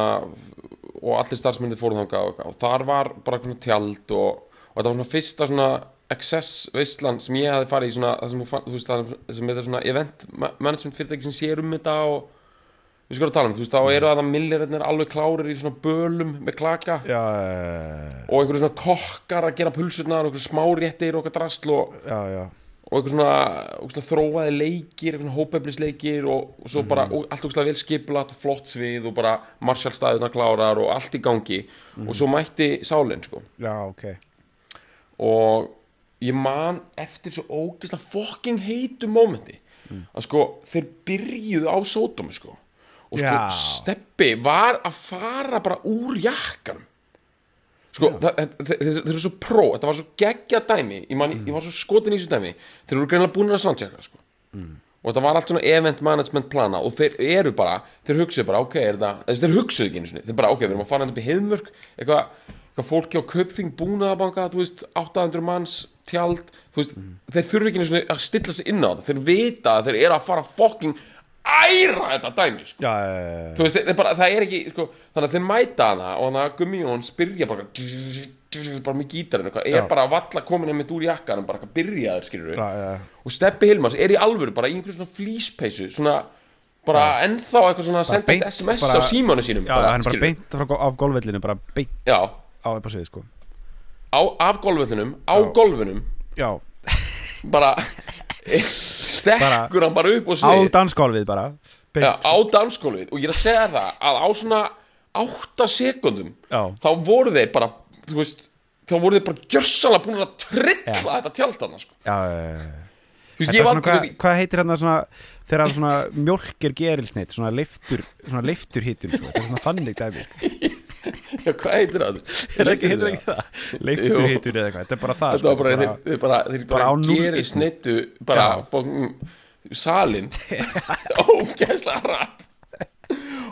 S1: og allir starfsmyndir fóru þangað og, eitthvað. og þar var bara svona tjald og, og þetta var svona fyrsta svona access veistlan sem ég hafði farið í svona það sem, þú fann, þú veist, það sem þetta er svona event ma- management fyrirtæki sem sér um þetta og við skoðum að tala um, þú veist, þá eru það millirarnir alveg klárir í svona bölum með klaka
S2: já, eh,
S1: og einhverju svona kokkar að gera pulsurnar og einhverju smáréttir og eitthvað drasl og
S2: já, já,
S1: og eitthvað svona, svona þróaði leikir, eitthvað svona hópefnisleikir og, og svo bara og allt ógstlega vel skiplat og flott svið og bara marsjálstaðuna klárar og allt í gangi og svo mætti sálinn sko
S2: já, ok
S1: og ég man eftir svo ógeðslega fucking heitu mómenti að sko þeir byrjuðu á sódómi sko og sko
S2: Já.
S1: steppi var að fara bara úr jakkanum sko það- þetta- þeir þeir- þeir eru svo pró, þetta var svo geggja dæmi ég, man, ég var svo skotin í þessu dæmi þeir eru greinlega búinir að soundchecka sko og þetta var allt svona event management plana og þeir eru bara, þeir hugsuðu bara ok, er það, þessi þeir hugsuðu ekki einu sinni þeir bara ok, við erum að fara hérna upp í heiðmörk eitthvað, eitthvað fólki á kaupþing búnaðabanka þú veist, 800 manns, tjald þú veist, þeir þurfi ekki einu sinni að stilla sig inn á þetta, þeir vita að þeir eru að fara fucking æra þetta dæmi sko.
S2: já, eh,
S1: þú veist, þeir- þeir bara, það er ekki sko, þannig að þeir mæta hana og þannig að Gummi og hann spyrja bara bara með gítarinn, eitthvað, er
S2: Já.
S1: bara að valla komin einmitt úr jakkanum, bara eitthvað byrjaður skilur
S2: já, já,
S1: og Steppi Hilmars er í alvöru bara í einhverjum svona flýspeysu svona bara ennþá eitthvað svona að senda
S2: beint,
S1: eitt SMS
S2: bara-
S1: á símanu sínum
S2: já, hann er bara
S1: skilurðu.
S2: beint frá, go- af golfvellinu, bara beint
S1: já,
S2: á upp á svið sko,
S1: á, af golfvöllunum, á golfunum
S2: já,
S1: bara stekkur hann bara upp og
S2: á
S1: svið
S2: dansgolfið bara beint,
S1: já, á danskólfið og ég er að segja það að á svona 8 sekundum
S2: Já.
S1: þá voru þeir bara þú veist, þá voru þeir bara gjörsanlega búin að trilla þetta tjaldana sko.
S2: já, já, já,
S1: þú
S2: já.
S1: veist,
S2: Þetta
S1: ég
S2: er
S1: var
S2: svona, hvað,
S1: þú veist,
S2: hvað heitir hann svona, þegar svona mjólkir gerilsneitt, svona leiftur, svona leiftur hittum, sko. þetta er svona þannig dæmi. sko.
S1: já, hvað heitir það
S2: Er ekki, heitir ekki það? Leiftur hittur eða eitthvað, þetta er bara það.
S1: Þetta var bara,
S2: þetta
S1: þeir,
S2: er
S1: þeir bara, þeir
S2: bara
S1: bara,
S2: á
S1: bara
S2: núll
S1: gerir
S2: einni.
S1: snittu bara
S2: Já.
S1: fókum salin ógeðslega hratt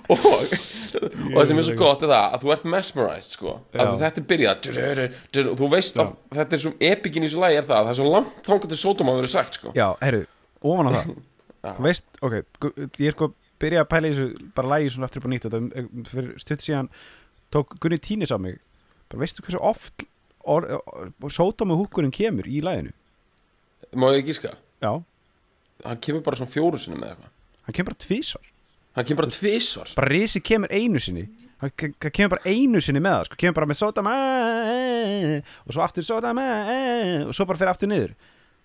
S1: og, og það sem er svo gott er það að þú ert mesmerized sko að
S2: Já.
S1: þetta er byrjað drr, drr, drr, og þú veist að þetta er svo epikin í þessu lagi er það að það er svo langt þangar til sótum að vera sagt sko
S2: Já, herru, ofan á það.
S1: Já.
S2: Þú veist, ok, gu- ég er sko byrjað að pæla í þessu, bara lægi svona aftur upp á nýtt og þetta um, fyrir stutt síðan tók Gunni Tínis á mig. Bara veistu hversu oft or, or, or, sótum og húkurinn kemur í læginu?
S1: má ég gíska
S2: Já,
S1: hann kemur bara svona fjóru sinni með eitthvað
S2: hann kemur bara tvísvar.
S1: hann kemur bara tvisvar
S2: bara Risi kemur einu sinni hann ke- ke- kemur bara einu sinni með það sko. kemur bara með sódama og svo aftur sódama og svo bara fyrir aftur niður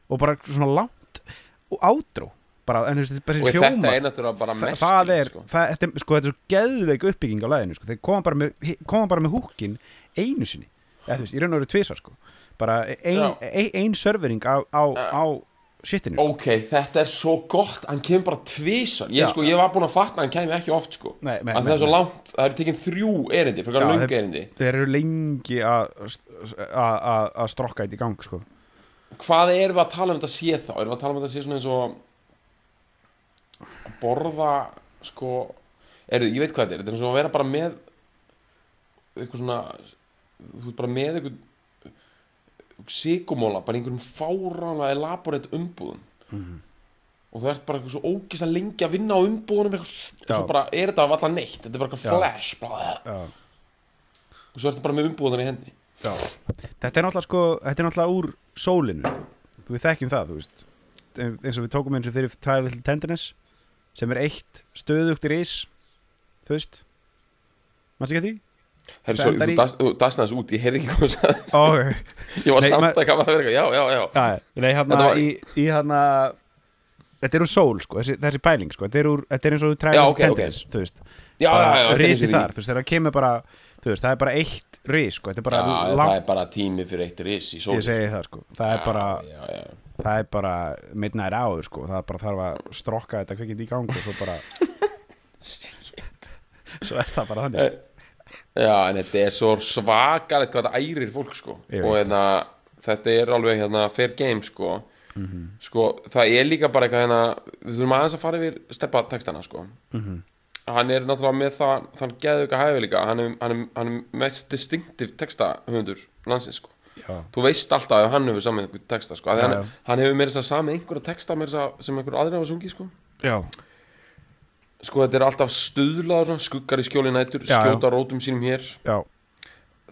S2: og bara svona langt og átrú bara, en þú veist, þetta er bara
S1: og
S2: þessi
S1: þetta
S2: hljóma
S1: er náttúrulega bara
S2: Þa-
S1: merkilegt
S2: það er,
S1: sko.
S2: það, þetta, er- sko, þetta er svo geðveik uppbygging á læðinu sko. þeir koma bara með, hi- koma bara með húkin einu sinni, eða þú veist, í raun og veru tvisar sko. bara ein,
S1: Já.
S2: ein, ein servering á, á, á shitinu sko.
S1: ok, þetta er svo gott hann kemur bara tvisvar ég,
S2: Já.
S1: sko, ég var búin að fatna að hann kemur ekki oft sko.
S2: Nei, nei,
S1: að það
S2: nei,
S1: er svo
S2: nei.
S1: langt, það eru tekin þrjú erindi fyrir
S2: Já,
S1: hverju löngu
S2: þeir-
S1: erindi
S2: þeir eru lengi að að- að að strokka þetta í gang sko.
S1: hvað erum við að tala um þetta sé þá erum við að tala um þetta sé svona eins og að borða sko, er, ég veit hvað þetta er þetta er eins og að vera bara með eitthvað svona þú ert bara með eitthvað sigumóla, bara í einhverjum fáránlega elaborate umbúðum
S2: Mhm.
S1: og þú ert bara eitthvað svo ógist að lengi að vinna á umbúðunum eitthvað, og
S2: Já.
S1: svo bara er þetta alltaf neitt þetta er bara eitthvað
S2: Já.
S1: flash bara,
S2: Já.
S1: og svo ertu bara með umbúðunum í hendi
S2: þetta er náttúrulega sko, þetta er náttúrulega úr sólinu þú við þekkjum það, þú veist En- eins og við tókum eins og fyrir Trial Little Tenderness sem er eitt stöðugt í reis þú veist mannst ekki að því?
S1: Herri,
S2: Það
S1: sorry,
S2: endar
S1: þú
S2: í-
S1: dast- þú dasnaði þessu út, ég heyrði ekki hvað þú sagði
S2: ok,
S1: Ég var
S2: Nei,
S1: samt
S2: maður-
S1: að kafa að vera eitthvað, já, já, já
S2: Já, nei, hérna
S1: Þetta var-
S2: í, í hérna Þetta er úr sól, sko, þessi, þessi pæling, sko Þetta er, úr, þetta er eins og þú træðir
S1: Já, ok, ok.
S2: þú veist
S1: Já, já, já, þetta er eins
S2: Risi
S1: og því.
S2: þar, þú veist, þegar það kemur bara Þú veist, það er bara eitt ris, sko Þetta er bara
S1: Já, það
S2: langt,
S1: er bara tími fyrir eitt ris í sólis
S2: ég segi það, sko Það er bara,
S1: Já, já,
S2: það er bara midnight hour, sko Það er bara þarf að strokka þetta kvikind í gang og svo bara Svo er það bara
S1: Eh.
S2: þannig
S1: já, en þetta er svo svakalegt hvað þetta ærir fólk, sko
S2: Ég veit
S1: Og hérna, þetta er alveg hérna fair game, sko Sko, það er líka bara eitthvað hérna Við þurfum aðeins að fara yfir steppa textana, sko Hann er náttúrulega með það, þann geðvika hæfileika Hann er, hann er, hann er mest distinctive textahundur landsins, sko
S2: Já,
S1: þú veist alltaf að hann hefur samið einhver texta sko. já,
S2: Já,
S1: hann,
S2: já.
S1: hann hefur meira þess að samið einhverja texta meira þess að, sem einhver aðrir hafa sungið sko.
S2: já,
S1: sko þetta er alltaf stuðlað og svona, skuggar í skjóli nætur,
S2: Já, já.
S1: skjóta rótum sínum hér
S2: já,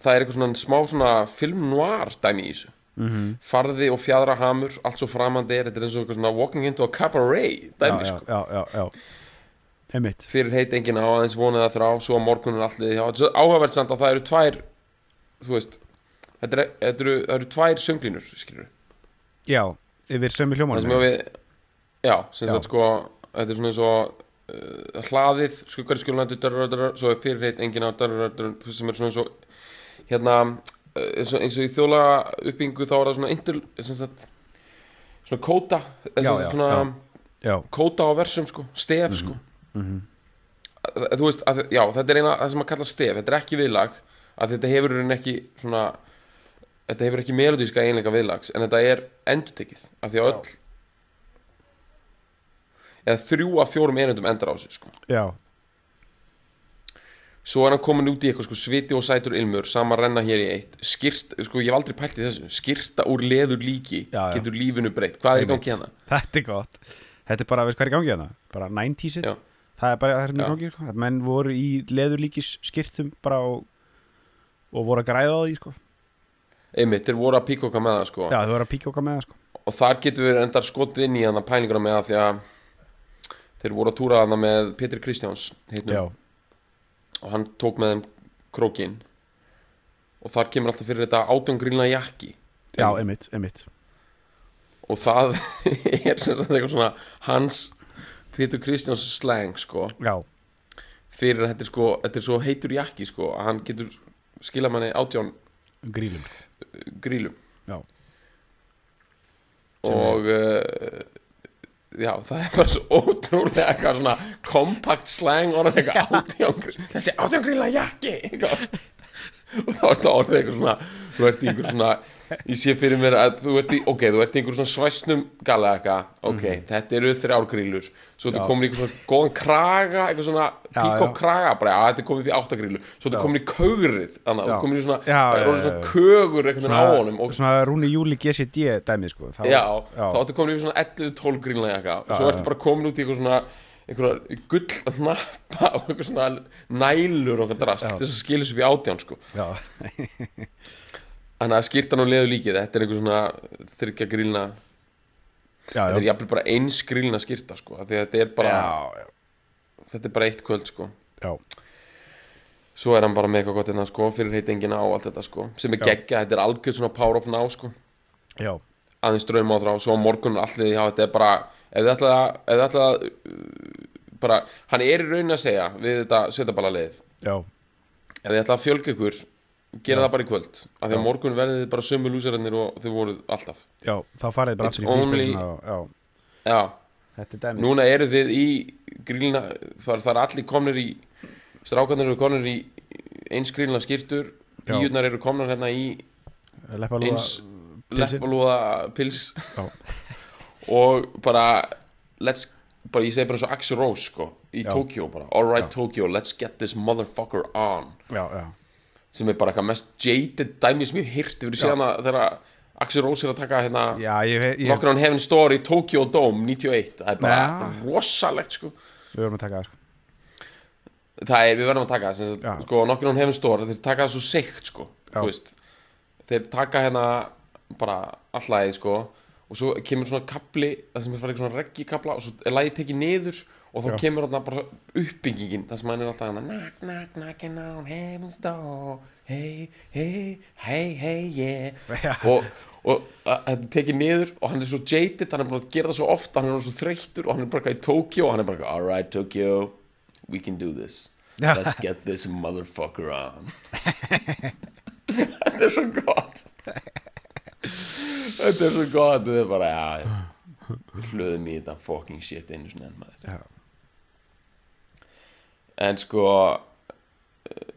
S1: það er eitthvað svona smá svona film noir dæmi í þessu -hmm. farði og fjadra hamur, allt svo framandi er þetta er eins og eitthvað svona walking into a cabaret
S2: já,
S1: dæmi
S2: já,
S1: sko
S2: já, já, já. Einmitt,
S1: fyrir heit enginn á aðeins vonið að þrá svo að morgunin allir hjá, þetta er svo áhugavert samt að það eru tvær þú veist þetta eru, þetta eru, það eru tvær sönglínur skilur
S2: já, yfir
S1: það
S2: sömu
S1: sem að
S2: hljómanum
S1: við já, sem
S2: Já.
S1: sagt sko þetta er svona eins og uh, hlaðið, skuggari skjólunandi dörrar, dörrar, svo er fyrirheit engin á dörrar, dörrar, þú veist, sem er svona eins og hérna, uh, eins og, eins og í þjóðlega uppbyggingu þá er það svona inter, sem sagt svona kóta, sem
S2: Já,
S1: sagt
S2: já,
S1: svona
S2: já. Já,
S1: kóta á versum sko, stef sko Að- að- þú veist, að, já, þetta er eina það sem að kalla stef, þetta er ekki viðlag að þetta hefur í rauninni ekki svona þetta hefur ekki melodíska einleika viðlags en þetta er endurtekið af því að öll eða þrjú af fjórum einundum endar á þessu sko.
S2: já,
S1: svo er hann komin út í eitthvað sko, sviti og sætur ilmur, sama renna hér í eitt skýrt, sko, ég hef aldrei pælt í þessu skýrta úr leður líki,
S2: Já, já.
S1: getur lífinu breytt hvað er í gangi hérna?
S2: Þetta er gott Þetta er bara, veist hvað er í gangi hérna? Bara 90s-ið
S1: Já.
S2: Það er bara það sem er í
S1: Já.
S2: gangi sko. að Menn voru í leðurlíkis skýrtum bara og, og voru að græða á því sko.
S1: einmitt, þeir voru að píkoka með það sko.
S2: Já, þau voru að píkjóka með það sko.
S1: og þar getum við endar skotið inn í hann að pælinguna með að því að þeir voru að túra hann með Petri Kristjáns heitnum,
S2: Já,
S1: og hann tók með þeim krókin og þar kemur alltaf fyrir þetta átjóngrýlna jakki
S2: já, einmitt, einmitt
S1: og það er sem sagt eitthvað svona hans Petri Kristjáns slang sko
S2: Já,
S1: fyrir að þetta er sko, þetta er svo heitur jakki sko að hann getur skila manni átjón
S2: um grílum sko.
S1: grílum
S2: Já.
S1: og uh, já, það er bara svo ótrúlega eitthvað svona kompakt slang orðið eitthvað átjángrýl þessi átjángrýla jakki eitthvað. og þá er það orðið eitthvað svona þú ert í einhver svona ég sé fyrir mér að þú ert í, ok, þú ert í einhver svona svæsnum gala eitthvað, ok, þetta eru þrjárgrýlur svo
S2: Mhm. Já.
S1: þú komin í einhver svona góðan kraga eitthvað svona
S2: Já,
S1: pík
S2: já.
S1: kraga bara, já, þetta er komið upp í áttagrýlu svo
S2: Já.
S1: þú komin í kaurið, þannig að
S2: Já.
S1: þú komin í svona, það
S2: Já, já,
S1: er orðið
S2: já,
S1: svona
S2: já.
S1: kögur einhvern veginn á honum og
S2: svona Rúni Júli GCD dæmið sko. Þá,
S1: já, þá áttu komin yfir svona 11-12 grínlega jakka og svo
S2: já,
S1: ertu
S2: já.
S1: bara komin út í eitthvað svona einhverja gull hnappa og eitthvað svona nælur og eitthvað drast
S2: Já.
S1: til þess að skilja upp í átján sko
S2: já,
S1: þannig að skýrtan og leðu líkið, þetta er einhver svona þryggja grílna,
S2: já,
S1: þetta er
S2: já,
S1: jafnvel bara eins grílna skýrta sko, af því að þetta er bara
S2: já, já.
S1: þetta er bara eitt kvöld sko
S2: já,
S1: svo er hann bara með eitthvað gott hérna sko fyrir heitingina á allt þetta sko sem er
S2: Já.
S1: geggja, þetta er algjörð svona power of now sko
S2: já,
S1: aðeins draum á þrá, svo á morgun er allir því að þetta er bara, ef þið ætlaði að ef þið ætlaði að uh, bara, hann er í raun að segja við þetta svetabala leið
S2: já,
S1: ef þið ætlaði að fjölga ykkur gera það bara í kvöld, af því að morgun verðið þið bara sömu lúsarinnir og þið voruð alltaf
S2: já þá farið þið bara
S1: It's
S2: aftur í
S1: only-
S2: físpilsuna og, já,
S1: já,
S2: þetta er dæmi
S1: núna eru þið í grílina, þar, þar allir komnir í strákarnir eru komnir í eins grílina skýrtur
S2: Já.
S1: bíurnar eru komnar hérna í
S2: leppalúða,
S1: eins
S2: pilsin.
S1: leppalúða pils
S2: Já.
S1: og bara let's, bara ég segi bara eins og Axl Rose sko, í
S2: Já.
S1: Tokyo bara, alright
S2: Já.
S1: Tokyo let's get this motherfucker on
S2: já, já,
S1: sem er bara eitthvað mest jaded dæmi sem ég hýrt yfir síðan að þegar Axl Rose er að taka hérna
S2: já, ég, ég, ég
S1: Locker on Heaven Story, Tokyo Dome 91, það er bara
S2: Já.
S1: rosalegt sko
S2: við vorum að taka það sko.
S1: það er, við verðum að taka það, sem
S2: Já.
S1: sagt, sko, nokkur hún hefum stór þeir taka það svo seikt, sko, þú veist þeir taka hérna bara allæði, sko og svo kemur svona kapli, það sem er farið svona reggi kapla og svo er lagið tekið niður og þá
S2: Já.
S1: kemur hérna bara uppbyggingin það sem hann er alltaf hérna knock, knock, knocking on heaven's door hey, hey, hey, hey,
S2: Já.
S1: yeah og, og að- þetta er tekið niður og hann er svo jaded, hann er búin að gera það svo oft hann er orðinn svo þreyttur og hann er bara eitthvað í Tokyo og hann er bara, eitthvað, alright Tokyo we can do this
S2: Já.
S1: let's get this motherfucker on þetta er svo gott þetta er svo gott þetta er bara, já, já hlöðum í þetta fucking shit einu sinni enn maður
S2: já,
S1: en sko eh,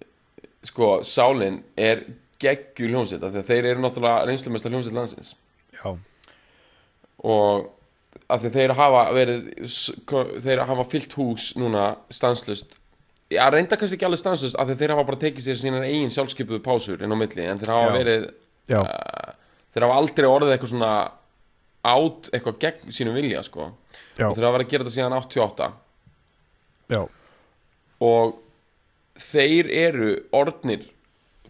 S1: sko, sálin er geggjur hljómsveit af því að þeir eru náttúrulega reynslumesta hljómsveit landsins
S2: já,
S1: og af því að þeir hafa verið s- ko- þeir hafa fyllt hús núna stanslust Já, reynda kannski ekki alveg stanslust af því að þeir hafa bara tekið sér sínar eigin sjálfskipuðu pásur inn á milli en þeir hafa
S2: Já.
S1: verið
S2: já,
S1: Uh, Eh, þeir hafa aldrei orðið eitthvað svona átt eitthvað gegn sínum vilja sko
S2: já,
S1: og þeir hafa verið að gera þetta síðan 88
S2: já,
S1: og þeir eru orðnir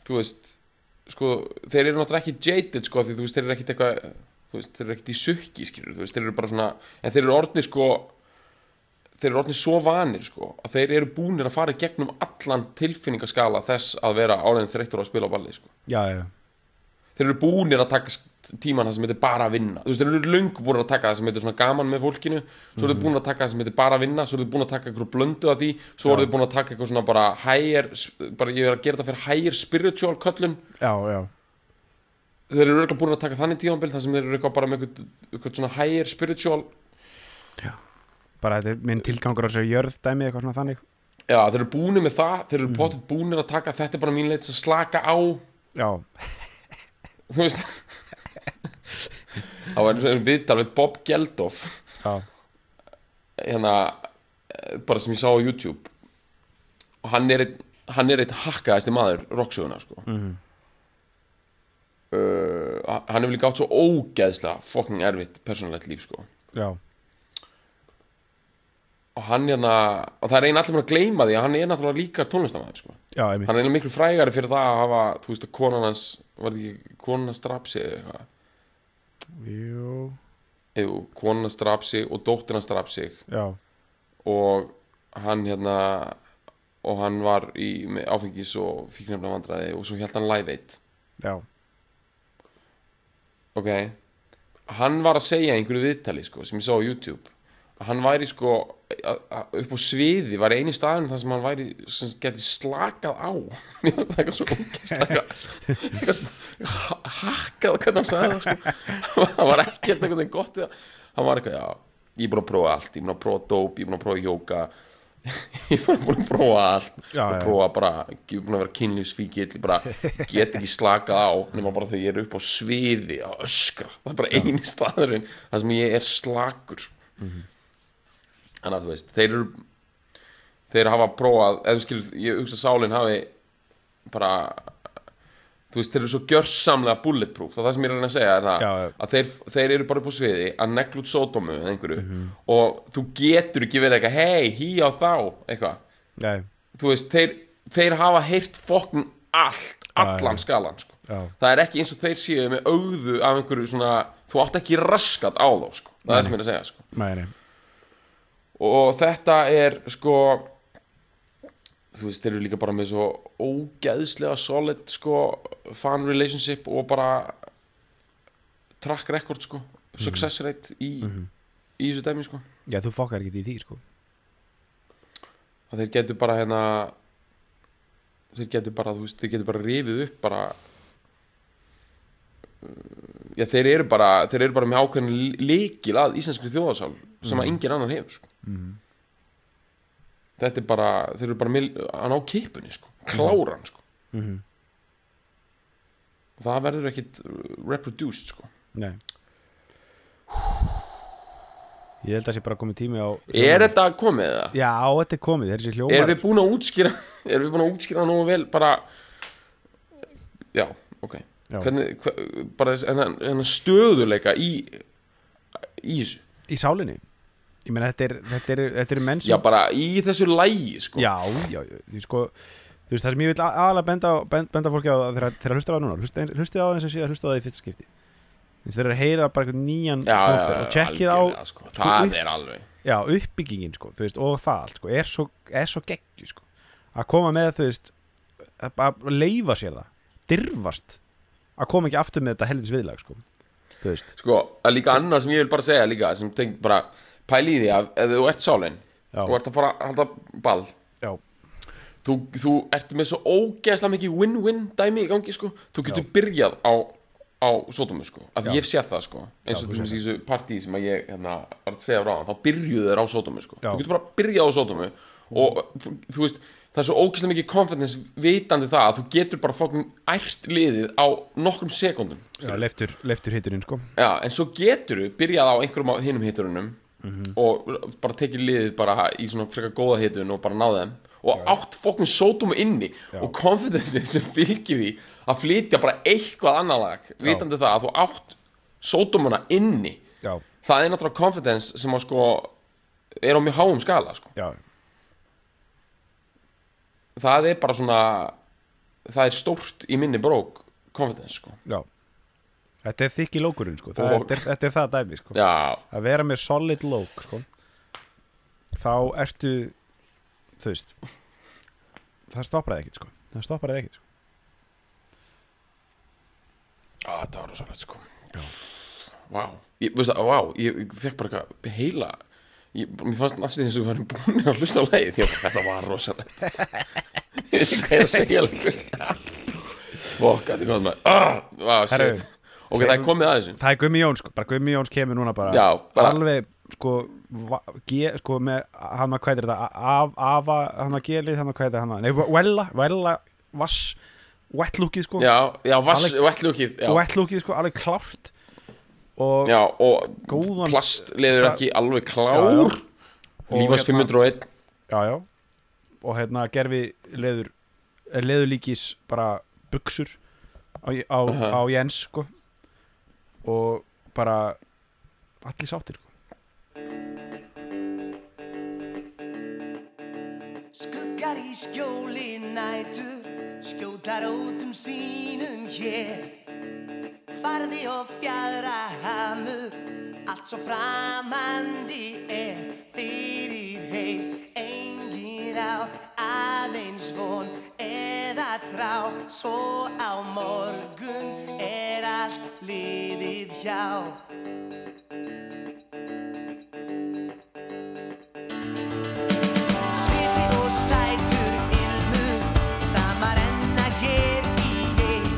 S1: þú veist sko, þeir eru náttúrulega ekki jaded sko, því þú veist, þeir eru ekkit eitthvað þú veist, þeir eru ekkit í sukki skilur, þú veist, þeir eru bara svona en þeir eru orðnir sko þeir eru orðnir svo vanir sko að þeir eru búnir að fara í gegnum allan tilfinningaskala þess að vera áleðin þreyttur á að spila á balli sko
S2: já, já,
S1: þeir eru búnir að taka sk- tíman það sem heitir bara að vinna þú veist, þeir eru löngu búin að taka það sem heitir svona gaman með fólkinu svo eru þeir búin að taka það sem heitir bara að vinna svo eru þeir búin að taka eitthvað blöndu af því svo eru þeir búin að taka eitthvað svona bara higher sp- bara ég er að gera þetta fyrir higher spiritual köllun
S2: já, já,
S1: þeir eru örugglega búin að taka þannig tímanbill þar sem þeir eru eitthvað bara með eitthvað, eitthvað svona higher spiritual
S2: bara þetta er minn tilgangur á þessu jörð dæmi eitthvað svona þannig
S1: já, þeir eru búnir með það þeir eru mm. potið búnir að taka þetta er bara mín leitt að slaka á
S2: já,
S1: þú veist það var eins og einu viðtal við um Bob Geldof
S2: já,
S1: hérna eh, bara sem ég sá á YouTube og hann er einn hann er eitt hakkaðasti maður rocksöguna sko uh, hann hefur líka átt svo ógeðslega fucking erfitt persónulegt líf sko
S2: já,
S1: og hann hérna og það er einn allir mér að gleyma því að hann er náttúrulega líka tónlistamæður sko
S2: já, einmitt
S1: hann er einu miklu frægari fyrir það að hafa þú veist að konan hans var þetta ekki konan hans draf sig eða eitthvað
S2: jú,
S1: Jú, konan hans draf sig og dóttir hans draf sig
S2: já,
S1: og hann hérna og hann var í með áfengis og fík nefnilega vandræði og svo held hann live 1
S2: já,
S1: ok hann var að segja í einhverju viðtali sko, sem ég sá á YouTube að hann væri sko a- a- upp á sviði var eini staðan þar sem hann væri sem sagt, gæti slakað á mér fannst það eitthvað svo ógeðslega hakkað hvernig hann sagði það sko hann var ekkert einhvern veginn gott við það hann var eitthvað, já, ég er búin að prófa allt ég er búin að prófa dóp, ég er búin að prófa jóka ég er bara búin að prófa allt já,
S2: Já,
S1: og
S2: já.
S1: prófa bara, ég er búin að vera kynlífsfíkill ég bara get ekki slakað á nema bara þegar ég er upp á sviði að öskra, það er bara eini staðurinn það sem ég er slakur
S2: Mhm.
S1: þannig að þú veist, þeir eru þeir hafa prófað, eða þú skilur ég hugsa að sálinn hafi bara þú veist, þeir eru svo gjörsamlega bulletproof, það er það sem ég er að reyna að segja er það,
S2: Já, já.
S1: að þeir, þeir eru bara upp á sviði að negla út sódómu eða einhverju
S2: Mhm.
S1: og þú getur ekki verið eitthvað hei, hí á þá, eitthvað
S2: nei,
S1: þú veist, þeir, þeir hafa heyrt fokkin allt,
S2: Já,
S1: allan
S2: já.
S1: skalan sko.
S2: Já.
S1: það er ekki eins og þeir séu með auðu af einhverju svona, þú átt ekki raskat á þá sko. það er það sem ég er að segja sko
S2: nei, nei,
S1: og þetta er sko þú veist, þeir eru líka bara með svo ógeðslega solid sko fan relationship og bara track record sko success rate í,
S2: Mhm.
S1: í þessu dæmi sko
S2: Já, þú fokkar ekki í því, sko
S1: að þeir getur bara hérna þeir getur bara, þú veist, þeir getur bara rifið upp bara mm, já, þeir eru bara þeir eru bara með ákveðin leikil að íslenskri þjóðasál sem að engin annan hefur sko. þetta er bara þeir eru bara með, hann á kipunni sko, kláran sko.
S2: Mhm.
S1: það verður ekkit reproduced sko.
S2: Nei Ég held að það sé bara komið tími á
S1: er þetta komið eða?
S2: Já, þetta er komið, þetta er þessi hljómar
S1: erum við búin að útskýra erum við búin að útskýra nú vel bara já, ok
S2: Já.
S1: Hvernig, hver, bara hennar stöðuleika í í þessu
S2: Í sálinni Ég meina, þetta er, þetta er, þetta er menn sem
S1: já, bara í þessu lægi sko.
S2: já, já, já, því sko Þú veist, það sem ég vil a- aðalega benda, á- bend- benda fólki á þegar þegar að hlusta á það núna, hlusta- hlustið á það eins og síðan hlustið á það í fyrsta skipti Þú veist, þeir eru að heyra bara einhvern nýjan
S1: já, já,
S2: snúper og tjekkið á
S1: algjörlega, sko. það er alveg
S2: já, uppbyggingin sko, þú veist, og það allt sko, er svo, er svo geggju sko. að koma með þú veist að bara leifa sér það, dirfast að koma ekki aftur með þetta helvins viðlag sko. þú veist,
S1: sko, að líka annað sem ég vil bara segja líka sem tengt bara pæli í því að ef þú ert sálinn
S2: Já.
S1: og ert að fara að halda ball
S2: já,
S1: þú, þú ert með svo ógeðslega mikið win-win dæmi í gangi sko þú getur byrjað á, á sótumu sko, af því ég hef séð það sko eins og til dæmis í þessu partí sem að ég hérna, var að segja ráðan, þá byrjuðu þeir á sótumu sko
S2: Já.
S1: þú getur bara byrjað á sótumu og þú veist, það er svo ógeðslega mikið confidence vitandi það að þú getur bara fókn ært liðið á nokkrum sekundum
S2: já leiftur, leiftur hitturinn sko.
S1: Já, en svo getur þú byrjað á einhverjum af hinum hiturunum og bara tekið liðið bara í svona frekar góða hitun og bara náða þeim og átt fokkun sótum inni og confidence sem fylgir því að flytja bara eitthvað annar lag vitandi það að þú átt sótumuna inni
S2: já,
S1: það er náttúrulega confidence sem að sko er á mjög háum skala sko.
S2: já,
S1: það er bara svona það er stórt í minni brók confidence sko
S2: já þetta er þykki lókurinn sko. það,
S1: Og-
S2: þetta, er, þetta er það dæmi sko.
S1: Já,
S2: að vera með solid lók sko. þá ertu þú veist það stoppar það ekkert sko. það stoppar það ekkert sko.
S1: Já, þetta var rosalegt sko Vá, ég, veist það, vá, ég, ég fekk bara eitthvað heila ég, Mér fannst næstu þess að við varum búin að hlusta á lagið því að þetta var rosalegt Ég veit ekki hvað ég er að segja lengur Fokk, þetta er komið með ah, Vá,
S2: Herru.
S1: shit Ok, það er komið að þessu
S2: Það er Gummi Jóns sko, bara Gummi Jóns kemur núna bara,
S1: Já, bara-
S2: alveg sko, va- ge, sko með hann að hvað er þetta, A- af, afa hann að gelið, hann að hvað er þetta, hann að, nei, vella, vella, vass, wetlookið sko,
S1: Já, já, vass,
S2: Alec-
S1: vettlúkið já,
S2: wetlookið sko, alveg klárt og
S1: já, og
S2: Góðan-
S1: plast leður
S2: Sta-
S1: ekki alveg
S2: Já, já.
S1: klár
S2: Og
S1: Lífast
S2: hérna-
S1: 501
S2: já, já, og hérna gerfi leður, eh, leður líkis bara buksur á, á,
S1: Aha.
S2: á Jens sko og bara allir sáttir sko.
S3: Skuggar í skjóli nætur Skjótar ótum sínum hér Farði og fjara hamur Allt svo framandi er Fyrir heit engir á Aðeins von eða þrá Svo á morgun er allt liðið hjá Sviti og sætur ilmur Samar enna hér í ég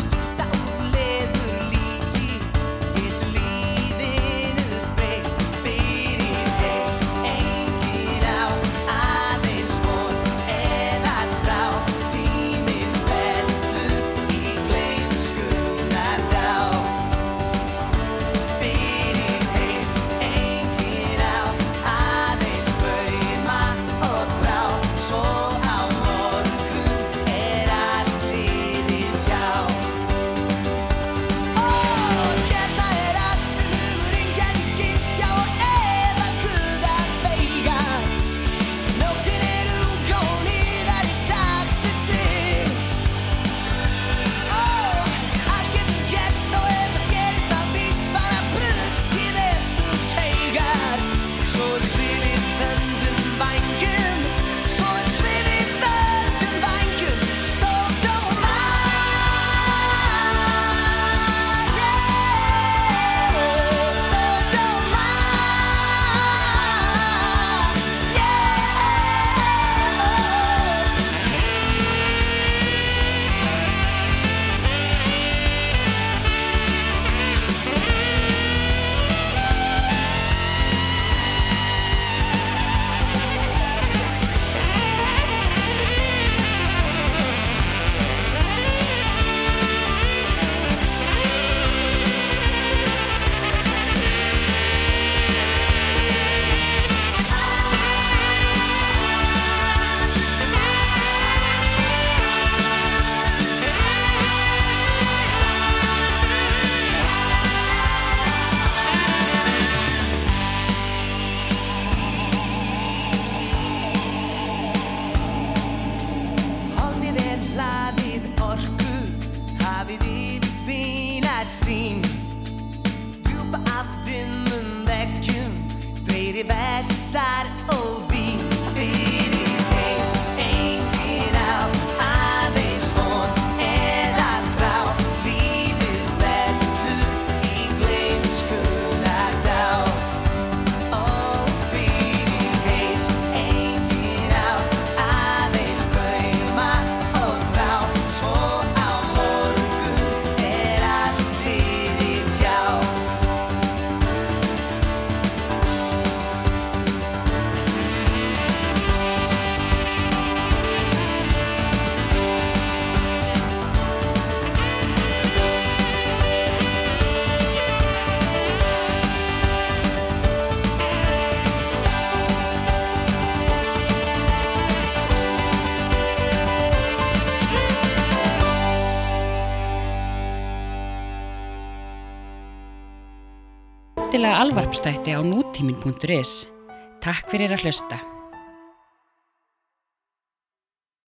S3: Skipta úr leður líki Getur lífinu breytt Fyrir þeim Engin á Aðeins von Eða frá Tíminn fellur Í gleimskunnar dá Oh, fyrir um vessar og vín fyrir heim, engin á aðeins von eða frá lífið verður í gleimskunar dál og fyrir heim, engin á aðeins drauma og frá svo á morgun er allt liðið hjá
S4: Til að alvarpstætti á nútímin.is. Takk fyrir að hlusta.